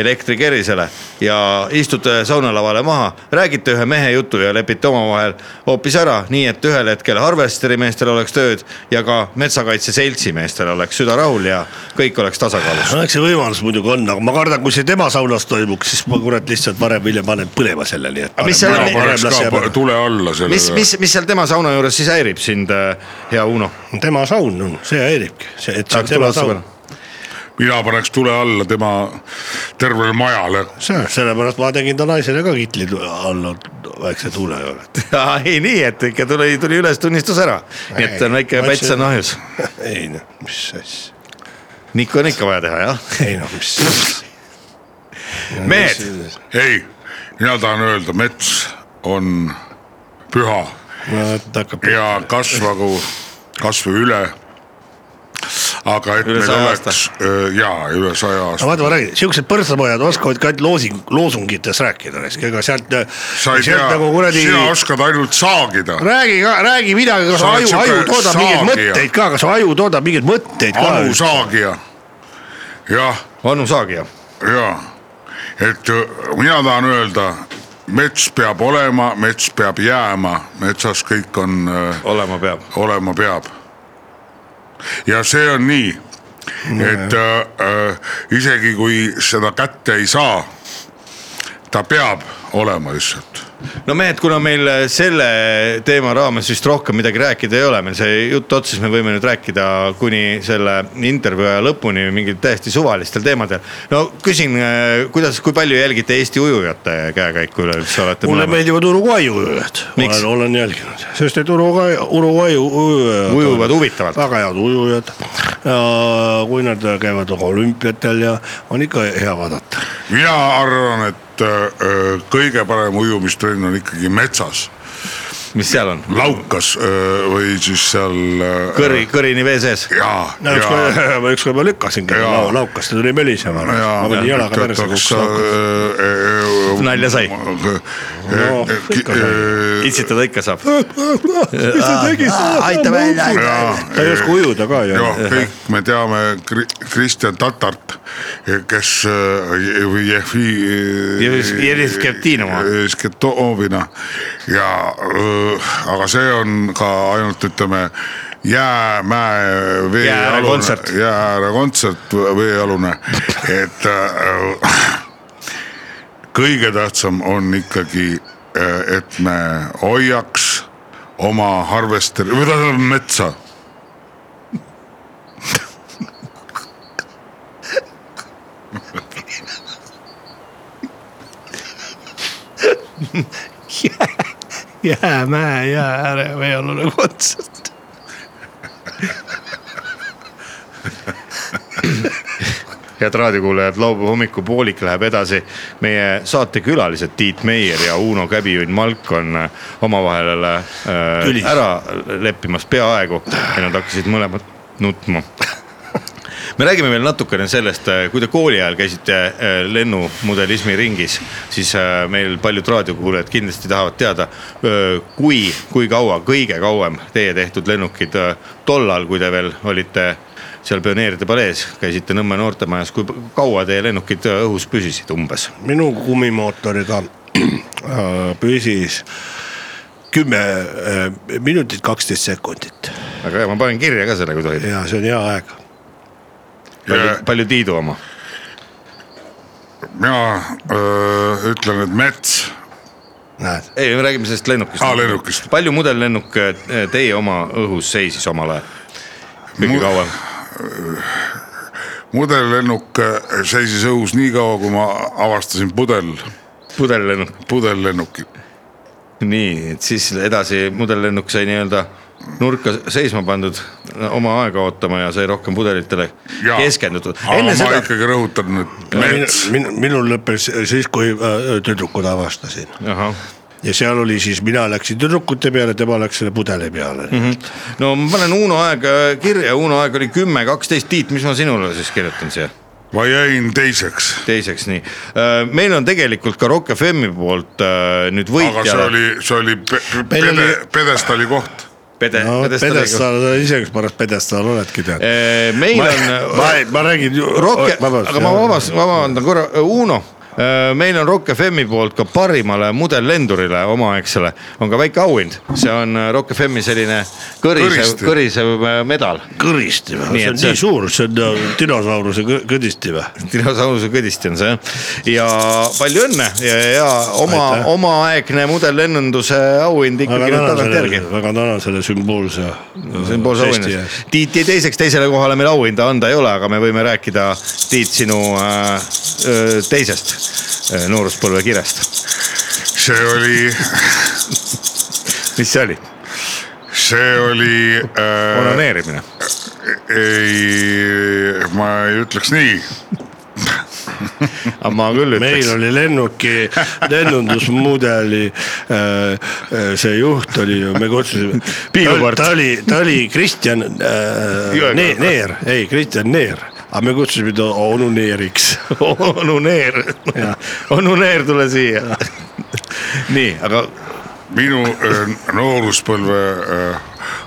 Speaker 2: elektrikerisele ja istute saunalavale maha , räägite ühe mehe jutu ja lepite omavahel hoopis ära , nii et ühel hetkel harvesteri meestel oleks tööd ja ka metsakaitse seltsi meestel oleks süda rahul ja kõik oleks tasakaalus .
Speaker 4: no eks see võimalus muidugi on , aga ma kardan , kui see tema saunas toimuks , siis ma kurat lihtsalt varem või hiljem panen põlema selle , nii et .
Speaker 2: Aga mis seal on- Parem
Speaker 3: tule alla sellele .
Speaker 2: mis , mis , mis seal tema sauna juures siis häirib sind , hea Uno ?
Speaker 4: tema saun on , see häiribki , see , et see on
Speaker 2: tahaks tulla
Speaker 4: tema
Speaker 2: otsa
Speaker 4: saun
Speaker 2: peale ..
Speaker 3: mina paneks tule alla tema tervele majale .
Speaker 4: see , sellepärast ma tegin ta naisele ka kitli tu- alla väikse tuule juurde .
Speaker 2: ei nii , et ikka tuli , tuli üles tunnistus ära , nii et on väike
Speaker 4: Ei,
Speaker 2: päts on ahjus .
Speaker 4: ei noh , mis asja ,
Speaker 2: nikku on ikka vaja teha jah .
Speaker 4: ei noh , mis .
Speaker 2: mehed ,
Speaker 3: ei , mina tahan öelda , mets on püha
Speaker 4: no vot hakkab .
Speaker 3: ja kasvagu kasvõi üle . aga et
Speaker 2: Üle
Speaker 3: meil
Speaker 2: saja
Speaker 3: oleks öö, jaa , üle saja
Speaker 4: no
Speaker 3: aasta .
Speaker 4: vaata , ma räägin , siuksed põrtsapojad oskavad ka ainult loosing , loosungites rääkida , eks , ega sealt .
Speaker 3: sa ei tea
Speaker 4: sealt nagu , kuradi
Speaker 3: sina oskad ainult saagida .
Speaker 4: räägi ka , räägi midagi , kas
Speaker 3: Sa oled
Speaker 4: aju ,
Speaker 3: sihuke
Speaker 4: aju toodab mingeid
Speaker 3: saagija.
Speaker 4: mõtteid ka , kas aju toodab mingeid mõtteid
Speaker 3: Anu
Speaker 4: ka ?
Speaker 3: saagija . jah ,
Speaker 2: Anu Saagja ,
Speaker 3: jaa , et öö, mina tahan öelda , mets peab olema , mets peab jääma , metsas kõik on äh, öö,
Speaker 2: olema peab .
Speaker 3: olema peab . ja see on nii , et äh, äh, isegi kui seda kätte ei saa , ta peab olema lihtsalt .
Speaker 2: no mehed , kuna meil äh, selle teema raames vist rohkem midagi rääkida ei ole , meil sai jutt otsas , me võime nüüd rääkida kuni selle intervjuu aja lõpuni mingil täiesti suvalistel teemadel . no küsin , kuidas , kui palju jälgite Eesti ujujate käekäiku üleüldse , olete
Speaker 4: mulle
Speaker 2: mõlemad
Speaker 4: meeldivad Uruguay ujujad ,
Speaker 2: nagu- Miks?
Speaker 4: olen , olen jälginud , sest et Uruguay , Uruguay ujujad .
Speaker 2: ujuvad huvitavalt ?
Speaker 4: väga head ujujad . kui nad käivad olümpiatel ja on ikka hea vaadata .
Speaker 3: mina arvan , et äh, kõige parem ujumistrenn on ikkagi metsas ,
Speaker 2: mis seal on ?
Speaker 3: laukas äh, või siis seal äh, .
Speaker 2: kõri , kõrini vee sees ?
Speaker 3: jaa ,
Speaker 4: no
Speaker 3: jaa
Speaker 4: ükskord , ma ükskord ma lükkasingi
Speaker 3: Jaa.
Speaker 4: lau- laukast ja tuli mölisema . ma panin jalaga perse
Speaker 3: äh,
Speaker 4: kukkus laukast .
Speaker 2: Nalja sai. .
Speaker 4: No,
Speaker 3: äh,
Speaker 4: ikka sai.
Speaker 2: itsitada ikka saab .
Speaker 4: mis sa tegid ?
Speaker 2: aita välja , aita .
Speaker 4: ta ei oska ujuda ka ju .
Speaker 3: jah , kõik me teame Kri- Kristjan Tatart , kes äh, või äh,
Speaker 2: Jev-
Speaker 3: Jevgeni .
Speaker 2: Jevgeni Skeptinova.
Speaker 3: Skeptinovina ja äh, aga see on ka ainult ütleme jää , mäe ,
Speaker 2: Jääääre
Speaker 3: veealune ,
Speaker 2: kontsert.
Speaker 3: jääääre kontsert , veealune , et äh, kõige tähtsam on ikkagi , et me hoiaks oma harvesteri , või tähendab metsa
Speaker 4: jäämäe , jääääre veealune kontsert .
Speaker 2: head raadiokuulajad , laupäeva hommikupoolik läheb edasi . meie saatekülalised Tiit Meier ja Uno Käbiünn Malk on äh, omavahel äh,
Speaker 4: Tülis.
Speaker 2: ära leppimas peaaegu ja nad hakkasid mõlemad nutma . me räägime veel natukene sellest , kui te kooli ajal käisite äh, lennumudelismi ringis , siis äh, meil paljud raadiokuulajad kindlasti tahavad teada , kui , kui kaua , kõige kauem teie tehtud lennukid äh, tollal , kui te veel olite seal pioneeride palees , käisite Nõmme noortemajas , kui p- kaua teie lennukid äh, õhus püsisid umbes ?
Speaker 4: minu kummimootoriga äh, püsis kümme äh, minutit , kaksteist sekundit
Speaker 2: aga ma panen kirja ka selle , kui tohib .
Speaker 4: ja see on hea aeg .
Speaker 2: palju,
Speaker 3: Ja-
Speaker 2: palju Tiidu oma ?
Speaker 3: mina öö, ütlen , et mets ,
Speaker 4: näed ,
Speaker 2: ei , me räägime sellest lennukist .
Speaker 3: Aa, lennukist.
Speaker 2: palju mudellennuk eh, teie oma õhus seisis omal ajal ? kõige
Speaker 3: Mu-
Speaker 2: kauem ,
Speaker 3: mudellennuk äh, seisis õhus nii kaua , kui ma avastasin pudel ,
Speaker 2: pudellennuk ,
Speaker 3: pudellennuki .
Speaker 2: nii , et siis edasi mudellennuk sai nii-öelda nurka seisma pandud , oma aega ootama ja sai rohkem pudelitele
Speaker 3: Jaa.
Speaker 2: keskendutud .
Speaker 3: aga
Speaker 2: enne
Speaker 3: ma seda...
Speaker 2: seda ,
Speaker 3: ikkagi rõhutan , et mets ,
Speaker 4: minu , minul lõppes siis , kui äh, tüdrukud avastasin
Speaker 2: ahah ,
Speaker 4: ja seal oli siis , mina läksin tüdrukute peale , tema läks selle pudeli peale mm .
Speaker 2: Mhm.
Speaker 4: -hmm.
Speaker 2: no ma panen Uno aeg eh, kirja , Uno aeg oli kümme , kaksteist , Tiit , mis ma sinule siis kirjutan siia ?
Speaker 3: ma jäin teiseks ,
Speaker 2: teiseks nii , meil on tegelikult ka Rock FM-i poolt eh, nüüd
Speaker 3: aga see
Speaker 2: võitja .
Speaker 3: oli , see oli pe- pe-
Speaker 4: Meil oli-
Speaker 3: pede , pedestaali koht .
Speaker 2: Pede-
Speaker 4: no
Speaker 2: Pedestaliga.
Speaker 4: pedestaal , sa ise pärast pedestaal oledki tead .
Speaker 2: Eh, meil
Speaker 4: ma
Speaker 2: on ,,
Speaker 4: ma, ma räägin ju
Speaker 2: Rock ,
Speaker 4: vabandust,
Speaker 2: aga ma
Speaker 4: jah.
Speaker 2: vabast- , vabandan korra , Uno . meil on Rock FM-i poolt ka parimale mudellendurile omaaegsele on ka väike auhind , see on eh, Rock FM-i selline kõrisev ,
Speaker 3: Kõristi.
Speaker 2: kõrisev eh, medal ,
Speaker 4: kõristi või ,
Speaker 2: Nii,
Speaker 4: see on
Speaker 2: et
Speaker 4: nii
Speaker 2: see-
Speaker 4: suur , see on äh, dinosauruse kõ- kõdisti või ?
Speaker 2: dinosauruse kõdisti on see jah . ja palju õnne ja , ja oma
Speaker 4: Aitäh. ,
Speaker 2: omaaegne mudellennunduse auhind
Speaker 4: väga
Speaker 2: ikkagi nüüd
Speaker 4: tänan
Speaker 2: tagantjärgi
Speaker 4: selle , väga tänan selle sümboolse . äh,
Speaker 2: sümboolse auhinna . Tiit jäi teiseks , teisele kohale meil auhinda anda ei ole , aga me võime rääkida , Tiit , sinu äh, äh, teisest äh, nooruspõlvekirjast .
Speaker 3: see oli ,
Speaker 2: mis see oli ?
Speaker 3: see oli äh, .
Speaker 2: onaneerimine .
Speaker 3: ei , ma ei ütleks nii ,
Speaker 2: aga ma küll
Speaker 4: meil
Speaker 2: ütleks .
Speaker 4: oli lennuki lennundusmudeli äh, äh, see juht oli ju , me kutsusime
Speaker 2: Piilupart. .
Speaker 4: ta oli , ta oli Kristjan äh,
Speaker 2: Jõekorv.
Speaker 4: Ne- Neer , ei Kristjan Neer , aga me kutsusime ta onu Neeriks .
Speaker 2: onuneer , onuneer , tule siia . nii , aga
Speaker 3: minu äh, nooruspõlve äh,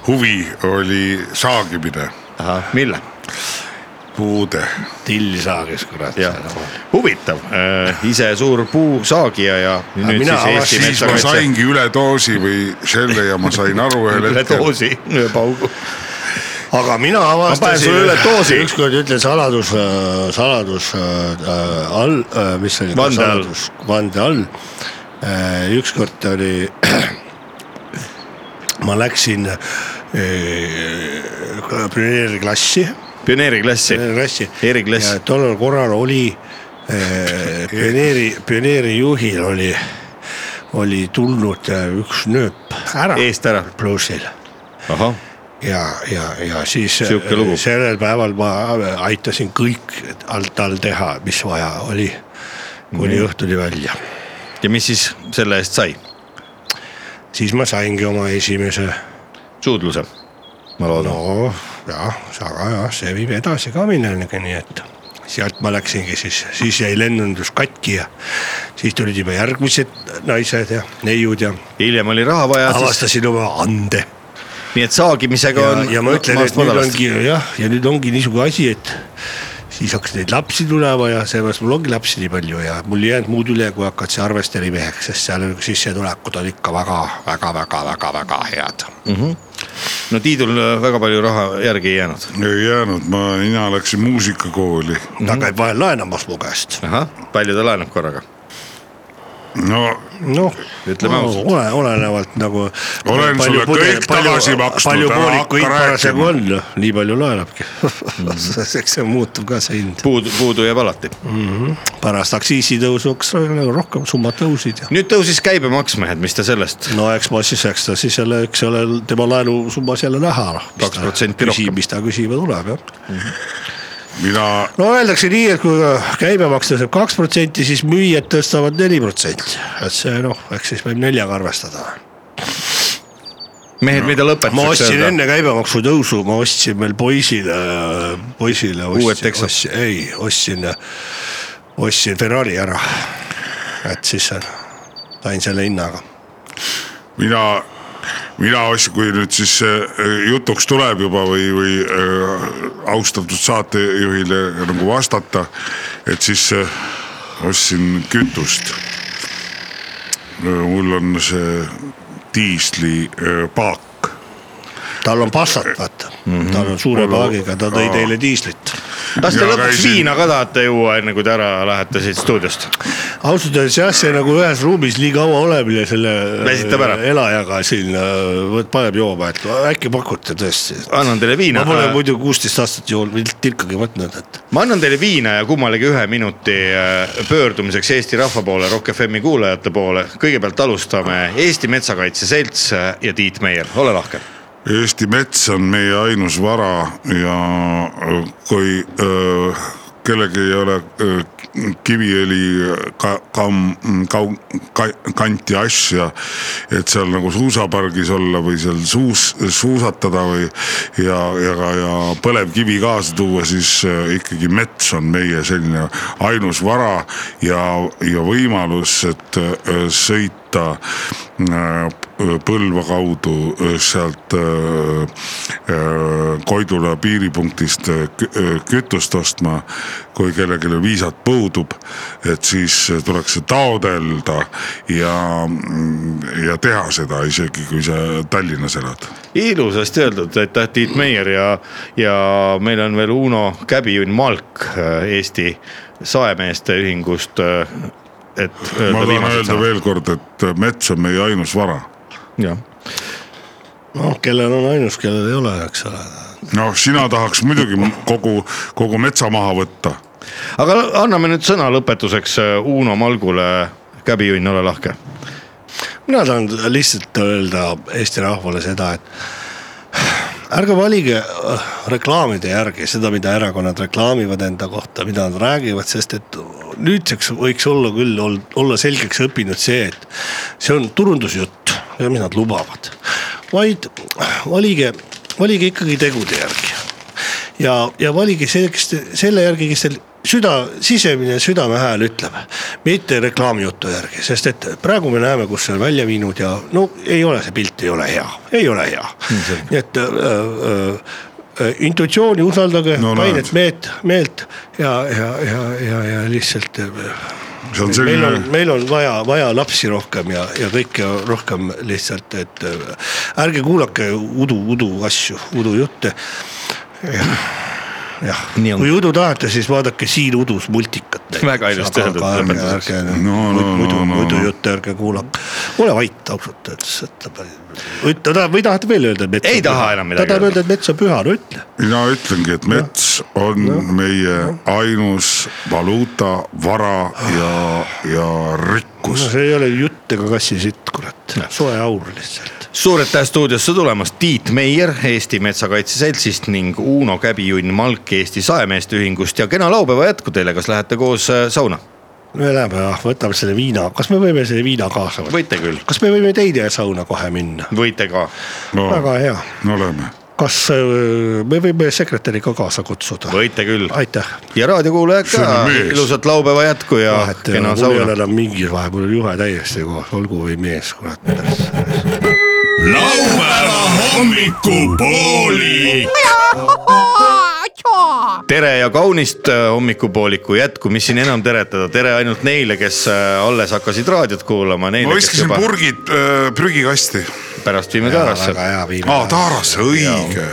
Speaker 3: huvi oli saagimine ,
Speaker 2: ahah, mille ?
Speaker 3: puude .
Speaker 4: till saages kurat .
Speaker 2: huvitav äh, , ise suur puusaagija ja nüüd
Speaker 4: mina
Speaker 2: siis Eesti
Speaker 4: avastasin-
Speaker 3: siis ma
Speaker 2: metsakaitse
Speaker 3: saingi üledoosi või selle ja ma sain aru ühel
Speaker 2: üle
Speaker 3: hetkel ,
Speaker 2: doosi , ühe paugu .
Speaker 4: aga mina
Speaker 2: panen
Speaker 4: avastasin
Speaker 2: sulle üle doosi.
Speaker 4: ükskord ütlen saladus , saladus äh, all , mis see oli ?
Speaker 2: Vande all.
Speaker 4: vande all . ükskord oli , ma läksin äh, pioneeriklassi ,
Speaker 2: pioneeriklassi .
Speaker 4: pioneeriklassi .
Speaker 2: Eriklass.
Speaker 4: ja tollal korral oli äh, pioneeri , pioneerijuhil oli , oli tulnud äh, üks nööp ära
Speaker 2: Eest ära.
Speaker 4: plussil
Speaker 2: ahah
Speaker 4: ja , ja , ja siis äh,
Speaker 2: Sihuke lugu.
Speaker 4: sellel päeval ma äh, aitasin kõik alt all teha , mis vaja oli , kuni mm. õhtuni välja .
Speaker 2: ja mis siis selle eest sai ?
Speaker 4: siis ma saingi oma esimese ,
Speaker 2: suudluse , ma loodan no. .
Speaker 4: no jah , aga jah , see viib edasi ka millenegi , nii et sealt ma läksingi siis , siis jäi lennundus katki ja siis tulid juba järgmised naised ja neiud ja
Speaker 2: hiljem oli raha vaja , siis ,
Speaker 4: avastasin oma ande
Speaker 2: nii et saagimisega
Speaker 4: ja ,
Speaker 2: on .
Speaker 4: ja ma ütlen , et nüüd ongi jah , ja nüüd ongi niisugune asi , et siis hakkas neid lapsi tulema ja seepärast mul ongi lapsi nii palju ja mul ei jäänud muud üle , kui hakata see arvesterimeheks , sest seal on sissetulekud on ikka väga-väga-väga-väga-väga head .
Speaker 2: no Tiidul äh, väga palju raha järgi ei jäänud .
Speaker 3: ei jäänud , ma , mina läksin muusikakooli .
Speaker 4: ta käib vahel laenamas mu käest .
Speaker 2: ahah , palju ta laenab korraga ?
Speaker 3: no
Speaker 4: noh ,
Speaker 2: Ütleme ausalt.
Speaker 4: ole , olenevalt nagu .
Speaker 3: Olen sulle kõik tagasi maksnud,
Speaker 4: palju
Speaker 3: ära
Speaker 4: poolikuid
Speaker 3: hakka
Speaker 4: parasjagu
Speaker 3: rääkima. Mhm.
Speaker 4: on , nii palju laenabki . eks see muutub ka see hind .
Speaker 2: puudu , puudu jääb alati .
Speaker 4: pärast aktsiisitõusu hakkas rohkem , summad tõusid ja .
Speaker 2: nüüd tõusis käibemaks , mehed , mis te sellest ?
Speaker 4: no eks ma siis , eks ta siis jälle , eks ole tema laenusummas jälle näha . noh,
Speaker 2: 2% rohkem.
Speaker 4: mis ta küsima tuleb jah .
Speaker 3: mina ,
Speaker 4: no öeldakse nii , et kui käibemaks tõuseb kaks protsenti , siis müüjad tõstavad neli protsenti , et see noh , eks siis võib neljaga arvestada .
Speaker 2: mehed , mida
Speaker 4: ma
Speaker 2: lõpetuseks
Speaker 4: ostsin enne käibemaksu tõusu , ma ostsin veel poisile , poisile
Speaker 2: Uued
Speaker 4: ostsin ,
Speaker 2: teksad.
Speaker 4: ostsin , ei , ostsin , ostsin Ferrari ära . et siis sain selle hinnaga .
Speaker 3: mina , mina ostsin , kui nüüd siis äh, jutuks tuleb juba või , või äh, austatud saatejuhile nagu vastata , et siis äh, ostsin kütust . mul on see äh, diislipaak ,
Speaker 4: tal on passat , vaata mm , -hmm. tal on suure paagiga , ta tõi
Speaker 3: Aa.
Speaker 4: teile diislit .
Speaker 2: kas te
Speaker 3: Mina
Speaker 2: lõpuks
Speaker 3: käisin-
Speaker 2: viina ka tahate juua , enne kui te ära lähete siit stuudiost ?
Speaker 4: ausalt öeldes jah , see nagu ühes ruumis nii kaua olemine selle
Speaker 2: Väsitab ära.
Speaker 4: äh, elajaga siin äh, võt- paneb jooma , et äkki pakute tõesti .
Speaker 2: annan teile viina Äh,
Speaker 4: ma , pole muidu kuusteist aastat joonud , mitte tilkagi mõtelnud , et
Speaker 2: ma annan teile viina ja kummalegi ühe minuti äh, pöördumiseks Eesti rahva poole , Rock FM-i kuulajate poole . kõigepealt alustame Eesti Metsakaitse Selts äh, ja Tiit Meier , ole lahke .
Speaker 3: Eesti mets on meie ainus vara ja äh, kui äh, kellelgi ei ole äh, kiviõli ka, kam- , kau- , kanti asja , et seal nagu suusapargis olla või seal suus , suusatada või ja , ja , ja põlevkivi kaasa tuua , siis äh, ikkagi mets on meie selline ainus vara ja , ja võimalus , et äh, sõita äh, Põlva kaudu äh, sealt äh, äh, Koidula piiripunktist äh, kü- äh, kütust ostma . kui kellelgi viisat puudub , et siis tuleks see taodelda ja , ja teha seda isegi , kui sa Tallinnas elad .
Speaker 2: ilusasti öeldud , aitäh Tiit Meier ja , ja meil on veel Uno Käbiun Malk äh, Eesti saemeeste ühingust , et
Speaker 3: ma
Speaker 2: öelda
Speaker 3: tahan
Speaker 2: viimased
Speaker 3: öelda
Speaker 2: sõnad .
Speaker 3: veel kord , et mets on meie ainus vara .
Speaker 2: jah ,
Speaker 4: noh , kellel on ainus , kellel ei ole , eks ole .
Speaker 3: noh , sina tahaks muidugi kogu , kogu metsa maha võtta .
Speaker 2: aga anname nüüd sõna lõpetuseks äh, Uno Malgule , Käbiun , ole lahke
Speaker 4: mina tahan lihtsalt öelda Eesti rahvale seda , et ärge valige äh, reklaamide järgi seda , mida erakonnad reklaamivad enda kohta , mida nad räägivad , sest et nüüdseks võiks olla küll , olla selgeks õppinud see , et see on turundusjutt ja mis nad lubavad . vaid valige , valige ikkagi tegude järgi ja , ja valige see , kes te, selle järgi , kes teil süda , sisemine südamehääl ütleb , mitte reklaamijutu järgi , sest et praegu me näeme , kus see on välja viinud ja no ei ole , see pilt ei ole hea , ei ole hea . nii et äh, äh, äh, intuitsiooni usaldage
Speaker 3: No
Speaker 4: no, ,
Speaker 3: näed.
Speaker 4: kainet meelt , meelt ja , ja , ja , ja , ja lihtsalt äh,
Speaker 3: see on
Speaker 4: meil on
Speaker 2: Mm.
Speaker 3: selline ,,
Speaker 4: meil on vaja , vaja lapsi rohkem ja , ja kõike rohkem lihtsalt , et äh, ärge kuulake udu , udu asju , udu jutte . jah ,
Speaker 2: Nii on.
Speaker 4: kui udu tahate , siis vaadake Siil udus multikat .
Speaker 2: Väga ilusti öeldud, lõpetuseks.
Speaker 3: No, no, no,
Speaker 4: muidu ,
Speaker 3: no,
Speaker 4: muidu
Speaker 3: no.
Speaker 4: jutte ärge kuulake , ole vait ausalt öeldes , et või ta tahab , või tahate veel öelda , et mets
Speaker 2: Ei taha enam midagi
Speaker 4: ta tahab
Speaker 2: öelda.
Speaker 4: öelda , et mets on püha , no ütle .
Speaker 3: mina ütlengi , et mets on meie ainus valuuta , vara ja , ja
Speaker 4: no
Speaker 3: rikkus .
Speaker 4: see ei ole jutt ega kassisitt , kurat , soe aur lihtsalt .
Speaker 2: suur aitäh stuudiosse tulemast , Tiit Meier Eesti Metsakaitse Seltsist ning Uno Käbijunn Malk Eesti Saemeeste Ühingust ja kena laupäeva jätku teile , kas lähete koos äh, sauna ?
Speaker 4: me läheme , võtame selle viina , kas me võime selle viina kaasa võtta ?
Speaker 2: võite küll ,
Speaker 4: kas me võime teide sauna kohe minna ?
Speaker 2: võite ka .
Speaker 3: no
Speaker 4: väga hea ,
Speaker 3: no lähme .
Speaker 4: kas öö, me võime sekretäri ka kaasa kutsuda ?
Speaker 2: võite küll
Speaker 4: aitäh .
Speaker 2: ja raadiokuulajad
Speaker 3: See
Speaker 2: ka
Speaker 3: on mees. ,
Speaker 2: ilusat laupäeva jätku
Speaker 3: Ah,
Speaker 2: ja
Speaker 4: vahet ei ole ,
Speaker 2: kena
Speaker 4: Ah, äh, mul ei ole
Speaker 2: sauna .
Speaker 4: enam mingi vahe , mul on juhe täiesti koos , olgu või mees , kurat .
Speaker 6: laupäeva hommikupooli .
Speaker 2: tere ja kaunist äh, hommikupooliku jätku , mis siin enam teretada , tere ainult neile , kes äh, alles hakkasid raadiot kuulama ,
Speaker 3: ma
Speaker 2: neile , kes
Speaker 3: viskasin
Speaker 2: juba
Speaker 3: purgid äh, prügikasti .
Speaker 2: pärast viime taarasse
Speaker 4: väga hea viin .
Speaker 3: aa , Taarasse , õige .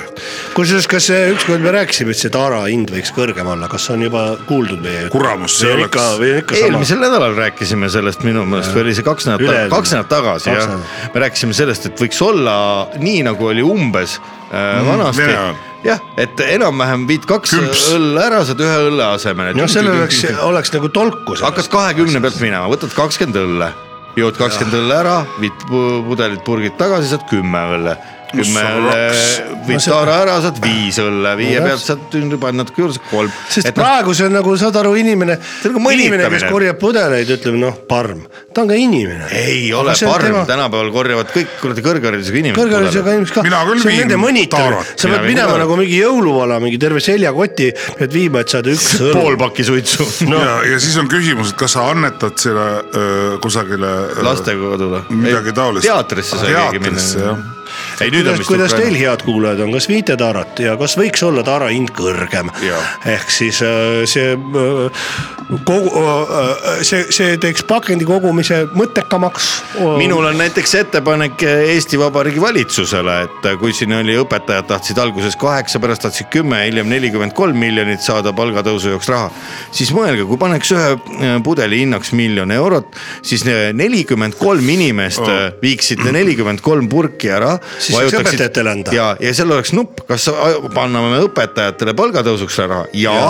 Speaker 4: kusjuures , kas see ükskord me rääkisime , et see taara hind võiks kõrgem olla , kas on juba kuuldud meie ?
Speaker 3: Kuramust, see oleks-
Speaker 4: või on ikka sama ?
Speaker 2: eelmisel nädalal rääkisime sellest minu meelest või oli see kaks nädalat
Speaker 4: Üle-
Speaker 2: tagasi , kaks nädalat tagasi
Speaker 4: kaks
Speaker 2: jah
Speaker 4: nädalat. .
Speaker 2: me rääkisime sellest , et võiks olla nii , nagu oli umbes äh, vanasti
Speaker 3: Vene ajal. .
Speaker 2: jah , et enam-vähem viid kaks
Speaker 3: Kümps.
Speaker 2: õlle ära , saad ühe õlle asemele .
Speaker 4: noh , sellel oleks , oleks nagu tolku
Speaker 2: hakkad . kahekümne pealt minema , võtad kakskümmend õlle , jood kakskümmend õlle ära , viid pu- pudelid , purgid tagasi , saad kümme õlle . kümme
Speaker 3: on
Speaker 2: õlle
Speaker 3: raks?
Speaker 2: võid taara ära , saad viis õlle , viie pealt saad panna natuke juurde , saad kolm . noh,
Speaker 4: sest praegu see on nagu , saad aru , inimene ,
Speaker 2: on nagu
Speaker 4: inimene , kes
Speaker 2: mõnitamine.
Speaker 4: korjab pudeleid , ütleme noh , parm , ta on ka inimene .
Speaker 2: ei ole
Speaker 4: Aga see on
Speaker 2: parm
Speaker 4: tema- ,
Speaker 2: tänapäeval korjavad kõik kuradi kõrgharidusega inimesed .
Speaker 4: kõrgharidusega inimesed ka ,
Speaker 3: Mina küll
Speaker 4: see on
Speaker 3: viin
Speaker 4: nende mõnitamine
Speaker 3: taarat. ,
Speaker 4: sa
Speaker 2: Mina
Speaker 4: pead
Speaker 2: viin
Speaker 4: minema
Speaker 2: taarat.
Speaker 4: nagu mingi jõuluvana , mingi terve seljakoti pead viima , et saada üks
Speaker 2: pool pakki suitsu no.
Speaker 3: ja , ja siis on küsimus , et kas sa annetad selle öö, kusagile .
Speaker 2: lastekodule .
Speaker 3: midagi taolist .
Speaker 2: teatrisse sai keegi
Speaker 3: teatrisse
Speaker 2: minna
Speaker 3: jah ..
Speaker 2: ei nüüd on
Speaker 4: kuidas ,
Speaker 2: vist .
Speaker 4: kuidas teil , head kuulajad on , kas viite taarat ja kas võiks olla taara hind kõrgem ? ehk siis äh, see äh, kogu , see , see teeks pakendi kogumise mõttekamaks . äh,
Speaker 2: minul on näiteks ettepanek Eesti Vabariigi valitsusele , et kui siin oli , õpetajad tahtsid alguses kaheksa , pärast tahtsid kümme , hiljem nelikümmend kolm miljonit saada palgatõusu jaoks raha . siis mõelge , kui paneks ühe äh, pudeli hinnaks miljon eurot , siis nelikümmend kolm inimest oh. viiksid nelikümmend kolm purki ära .
Speaker 4: Siis võiks õpetajatele anda.
Speaker 2: ja , ja seal oleks nupp , kas a- anname õpetajatele palgatõusuks raha ja, ja. ,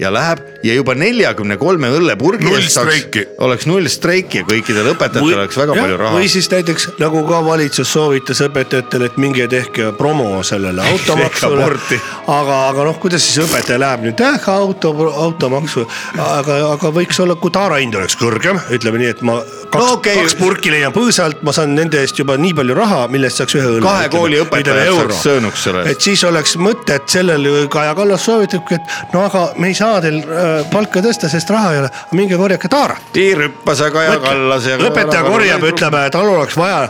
Speaker 2: ja läheb ja juba neljakümne kolme õllepurgi
Speaker 3: Null
Speaker 2: eest saaks
Speaker 3: streiki. ,
Speaker 2: oleks null streiki ja kõikidel õpetajatel oleks väga palju raha
Speaker 4: või . siis näiteks nagu ka valitsus soovitas õpetajatele , et minge tehke promo sellele automaksule
Speaker 2: Aborti. .
Speaker 4: aga , aga noh , kuidas siis õpetaja läheb nüüd äh, auto , automaksu , aga , aga võiks olla , kui taara hind oleks kõrgem , ütleme nii , et ma kaks
Speaker 2: No
Speaker 4: no, ,
Speaker 2: okei.
Speaker 4: okay. kaks purki leian põõsalt , ma saan nende eest juba nii palju raha , mille eest saaks ühe õlle .
Speaker 2: Kahe kooli õpetajat saaks söönuks selle eest.
Speaker 4: et siis oleks mõtet sellel , Kaja Kallas soovitabki , et no aga me ei saa teil äh, palka tõsta , sest raha ei ole , minge korjake taarat .
Speaker 2: tiir hüppas ja Kaja Kallas ja .
Speaker 4: õpetaja korjab , ütleme , tal oleks vaja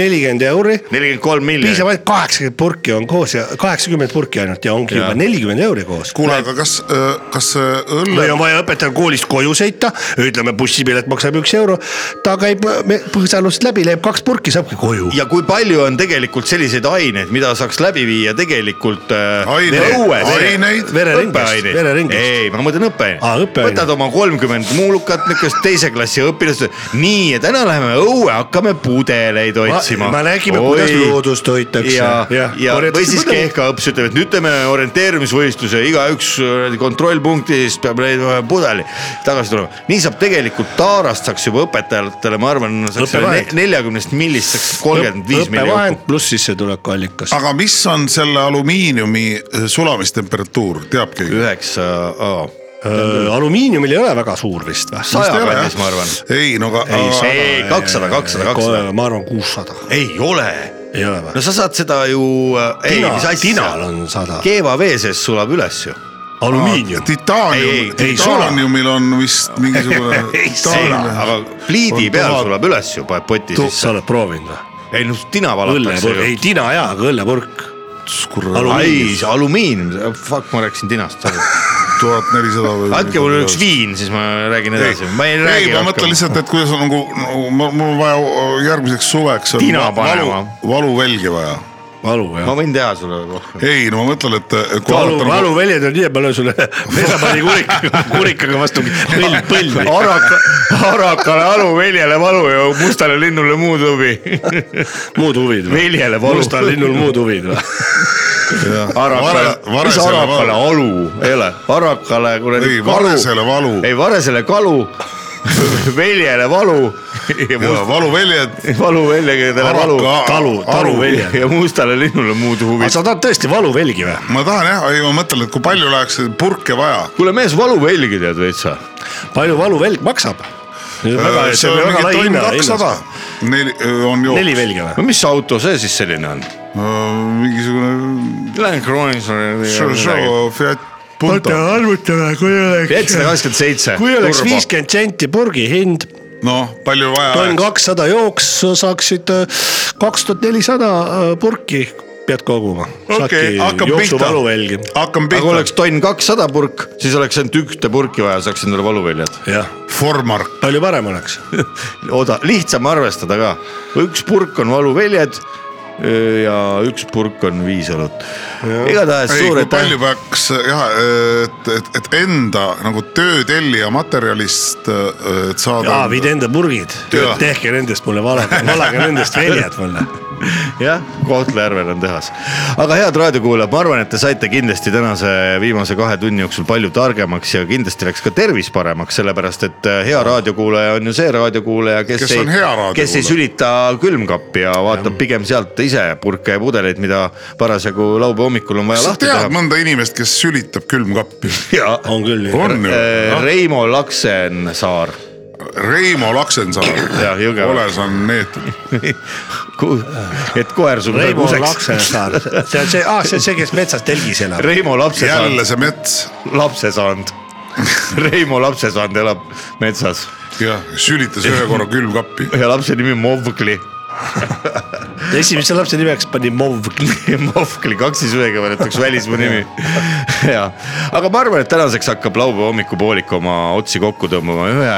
Speaker 4: nelikümmend euri ,
Speaker 2: nelikümmend kolm
Speaker 4: piisab
Speaker 2: miljonit .
Speaker 4: ainult kaheksakümmend purki on koos ja kaheksakümmend purki ainult ja ongi
Speaker 2: Jaa.
Speaker 4: juba nelikümmend euri koos .
Speaker 3: kuule , aga kas , kas see õlle
Speaker 4: või on vaja õpetajal koolist koju sõita , ütleme bussipilet maksab üks euro , ta käib me- põõsalust läbi , leiab kaks purki , saabki koju .
Speaker 2: ja kui palju on tegelikult selliseid aineid , mida saaks läbi viia tegelikult äh,
Speaker 3: Aineid.
Speaker 2: õues ?
Speaker 3: Aineid?
Speaker 4: vereringest , vereringest .
Speaker 2: ei , ma mõtlen õppeaineid
Speaker 4: Aa, õppeaineid.
Speaker 2: võtad oma kolmkümmend muulukat niukest teise klassi õpilast , nii ja täna läheme õue , hakkame pudeleid otsima .
Speaker 4: me nägime , kuidas loodust hoitakse .
Speaker 2: ja , ja, ja või siis kehkaõps ütleb , et nüüd teeme orienteerumisvõistluse , igaüks äh, kontrollpunktist peab leidma ühe pudeli tagasi tulema . nii saab tegelikult taarast saaks juba õpetajatele , ma arvan , saaks
Speaker 4: Õppevahend.
Speaker 2: selle neljakümnest millist saaks kolmkümmend viis miljonit .
Speaker 4: õppevahend pluss sissetulekuallikas .
Speaker 3: aga mis on selle alumiiniumi äh, sulamistemperatuur , teab keegi ?
Speaker 2: üheksa A .
Speaker 4: äh, alumiiniumil ei ole väga suur vist või ?
Speaker 2: Äh, saja kandis , ma arvan .
Speaker 3: ei , no aga ,
Speaker 2: ei , kakssada , kakssada , kakssada .
Speaker 4: ma arvan kuussada .
Speaker 2: ei ole .
Speaker 4: ei ole või
Speaker 2: no ? sa saad seda ju , ei , mis
Speaker 4: tinal
Speaker 2: asja .
Speaker 4: on sada .
Speaker 2: keeva vee sees sulab üles ju .
Speaker 4: alumiinium .
Speaker 2: Ei, ei,
Speaker 3: titaanium ,
Speaker 4: ei sula.
Speaker 3: titaaniumil on vist mingisugune
Speaker 4: Ei
Speaker 3: titaanium .
Speaker 2: aga pliidi
Speaker 3: On
Speaker 2: peal
Speaker 3: tuhat-
Speaker 2: sulab üles ju , paneb poti
Speaker 4: sa
Speaker 2: sisse .
Speaker 4: oled proovinud või ?
Speaker 2: ei noh , tina valatakse
Speaker 4: õllepurk ,
Speaker 2: ju
Speaker 4: ei . tina jaa , aga õllepurk .
Speaker 2: ei , see alumiinium , fuck , ma rääkisin tinast , sorry .
Speaker 3: tuhat nelisada või .
Speaker 2: andke mulle üks viin , siis ma räägin edasi , ma ei räägi .
Speaker 3: ei , ma mõtlen . lihtsalt , et kuidas on nagu , mul on vaja järgmiseks suveks .
Speaker 2: Tina panema.
Speaker 3: valuvälgi vaja .
Speaker 4: valu
Speaker 2: ma
Speaker 4: jah .
Speaker 2: võin teha sulle rohkem .
Speaker 3: ei , no ma mõtlen , et kui
Speaker 4: valu ,
Speaker 3: vaadata nagu
Speaker 4: valuväljad on nii , et ma löön sulle vesapalli kurikaga , kurikaga vastu põld , põlvi .
Speaker 2: Araka , Arakale aluveljele valu ja mustale linnule muud huvi .
Speaker 4: muud huvid või ?
Speaker 2: veljele valu .
Speaker 4: mustal linnul muud huvid või ?
Speaker 2: Arakale
Speaker 3: Vare- ,
Speaker 2: mis
Speaker 3: varesele
Speaker 2: Arakale
Speaker 3: valu.
Speaker 2: alu , ei ole , Arakale kuradi
Speaker 3: Ei, varesele valu.
Speaker 2: ei , Varesele kalu , veljele valu ja
Speaker 3: jaa,
Speaker 2: must ,
Speaker 3: valuväljad ,
Speaker 2: valuveljadele valu
Speaker 3: Araka- ,
Speaker 4: talu , taluveljed .
Speaker 2: ja mustale linnule muud huvi
Speaker 4: aga . sa tahad tõesti valuvelgi või ?
Speaker 3: ma tahan jah , ei ma mõtlen , et kui palju läheks purke vaja .
Speaker 2: kuule , mees valuvelgi tead veitsa . Äh,
Speaker 4: palju valuvelg maksab ?
Speaker 3: see on mingi tonn kakssada . neli on jooks .
Speaker 4: neli velge või ?
Speaker 2: no mis auto see siis selline on ?
Speaker 3: mingisugune
Speaker 2: Land Cruiser .
Speaker 3: Peugeot Fiat Punto .
Speaker 4: arvutame , kui
Speaker 2: seitsesada kakskümmend seitse .
Speaker 4: kui oleks . viiskümmend senti purgi hind ,
Speaker 3: noh , palju vaja
Speaker 4: tonn
Speaker 3: oleks .
Speaker 4: kakssada jooks , saaksid kaks tuhat nelisada äh, purki pead koguma .
Speaker 3: okei , hakkame pihta
Speaker 4: jooksuvaluvälgi .,
Speaker 3: hakkame
Speaker 2: aga kui oleks
Speaker 3: pihta .
Speaker 2: tonn kakssada purk , siis oleks ainult ühte purki vaja , saaks endale valuväljad .
Speaker 4: jah ,
Speaker 3: Formark ,
Speaker 4: palju parem oleks .
Speaker 2: oda , lihtsam arvestada ka , üks purk on valuväljad öö, ja üks purk on viis õlut . igatahes
Speaker 3: ei
Speaker 2: suur
Speaker 3: kui
Speaker 2: aitäh
Speaker 3: palju . peaks jah , et , et , et enda nagu töötellija materjalist , et saada
Speaker 4: aa , viid . enda purgid
Speaker 3: Jaa. ,
Speaker 4: tehke nendest mulle valed , valage nendest väljad mulle .
Speaker 2: jah , Kohtla-Järvel on tehas . aga head raadiokuulajad , ma arvan , et te saite kindlasti tänase viimase kahe tunni jooksul palju targemaks ja kindlasti läks ka tervis paremaks , sellepärast et äh, hea raadiokuulaja on ju see raadiokuulaja , kes
Speaker 3: Kes
Speaker 2: ei
Speaker 3: on hea raadiokuulaja. ,
Speaker 2: kes ei sülita külmkappi ja vaatab pigem sealt ise purke ja pudeleid , mida parasjagu laupäeva hommikul on vaja
Speaker 3: sa
Speaker 2: lahti
Speaker 3: tead
Speaker 2: teha .
Speaker 3: mõnda inimest , kes sülitab külmkappi ?
Speaker 4: on küll .
Speaker 3: on ju ?
Speaker 2: Äh, Reimo Laksensaar
Speaker 3: Reimo Laksensaar
Speaker 2: Jah, , Jõgeva.
Speaker 3: ole saneeritud .
Speaker 2: Ku- et koer sul sai
Speaker 4: Reimo
Speaker 2: kuseks .
Speaker 4: Laksesaar , see on see , aa , see on see , kes metsas telgis elab .
Speaker 2: Reimo Lapsesaand
Speaker 3: jälle , see mets
Speaker 2: Lapsesaand . Reimo Lapsesaand elab metsas
Speaker 3: jah , sülitas ühe korra külmkappi .
Speaker 2: ja lapse nimi Movgli .
Speaker 4: esimese lapse nimeks pani Mov .
Speaker 2: Movgli , kaks siis ühega võetakse välismaa nimi . ja , aga ma arvan , et tänaseks hakkab laupäeva hommikupoolik oma otsi kokku tõmbama ühe ,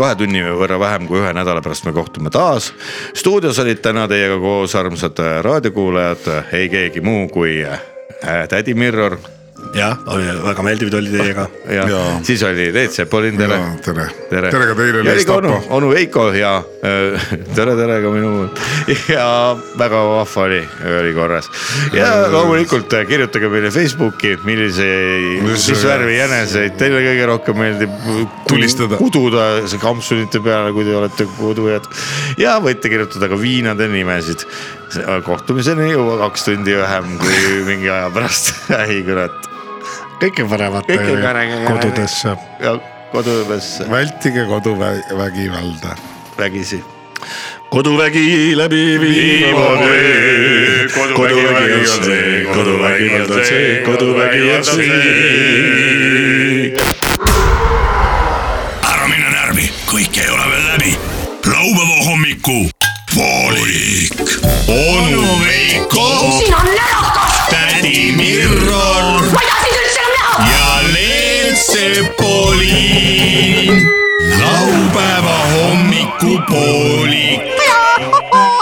Speaker 2: kahe tunni võrra vähem kui ühe nädala pärast me kohtume taas . stuudios olid täna teiega koos armsad äh, raadiokuulajad , ei keegi muu kui äh, tädi Mirror
Speaker 4: jah , väga meeldiv oli teiega .
Speaker 2: ja, ja.
Speaker 3: Jaa.
Speaker 2: siis oli Leet Sepolin , tere
Speaker 3: tere ., tere , tere ka teile ,
Speaker 2: Lees
Speaker 3: Lees
Speaker 2: Tapa
Speaker 3: Tapa ..
Speaker 2: onu Veiko ja öö, tere , tere ka minu poolt ja väga vahva oli , oli korras . ja loomulikult äh, kirjutage meile Facebooki , milliseid ,
Speaker 3: Mis-
Speaker 2: mis värvi jäneseid teile kõige rohkem meeldib
Speaker 3: Tulistada.
Speaker 2: kududa see kampsunite peale , kui te olete kudujad ja võite kirjutada ka viinade nimesid . kohtumiseni ei jõua kaks tundi vähem kui mingi aja pärast , ei kurat ,
Speaker 7: kõike paremat
Speaker 2: Kõike
Speaker 4: äh,
Speaker 3: Äh,
Speaker 7: teile
Speaker 2: paremat.
Speaker 7: kodudesse ,
Speaker 2: ja koduõppes
Speaker 7: vältige koduvägivalda .
Speaker 2: vägisi .
Speaker 4: koduvägi läbi viima . koduvägi on see , koduvägi on see , koduvägi on see .
Speaker 6: ära mine närvi , kõik ei ole veel läbi . laupäeva hommiku poolik . onu Veiko ,
Speaker 8: siin on närakas ,
Speaker 6: tädi Mirror
Speaker 8: ma ei taha sind üldse enam näha .
Speaker 6: ja Leet Sepolin . laupäeva hommikupoolik .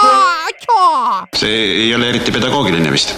Speaker 9: see ei ole eriti pedagoogiline vist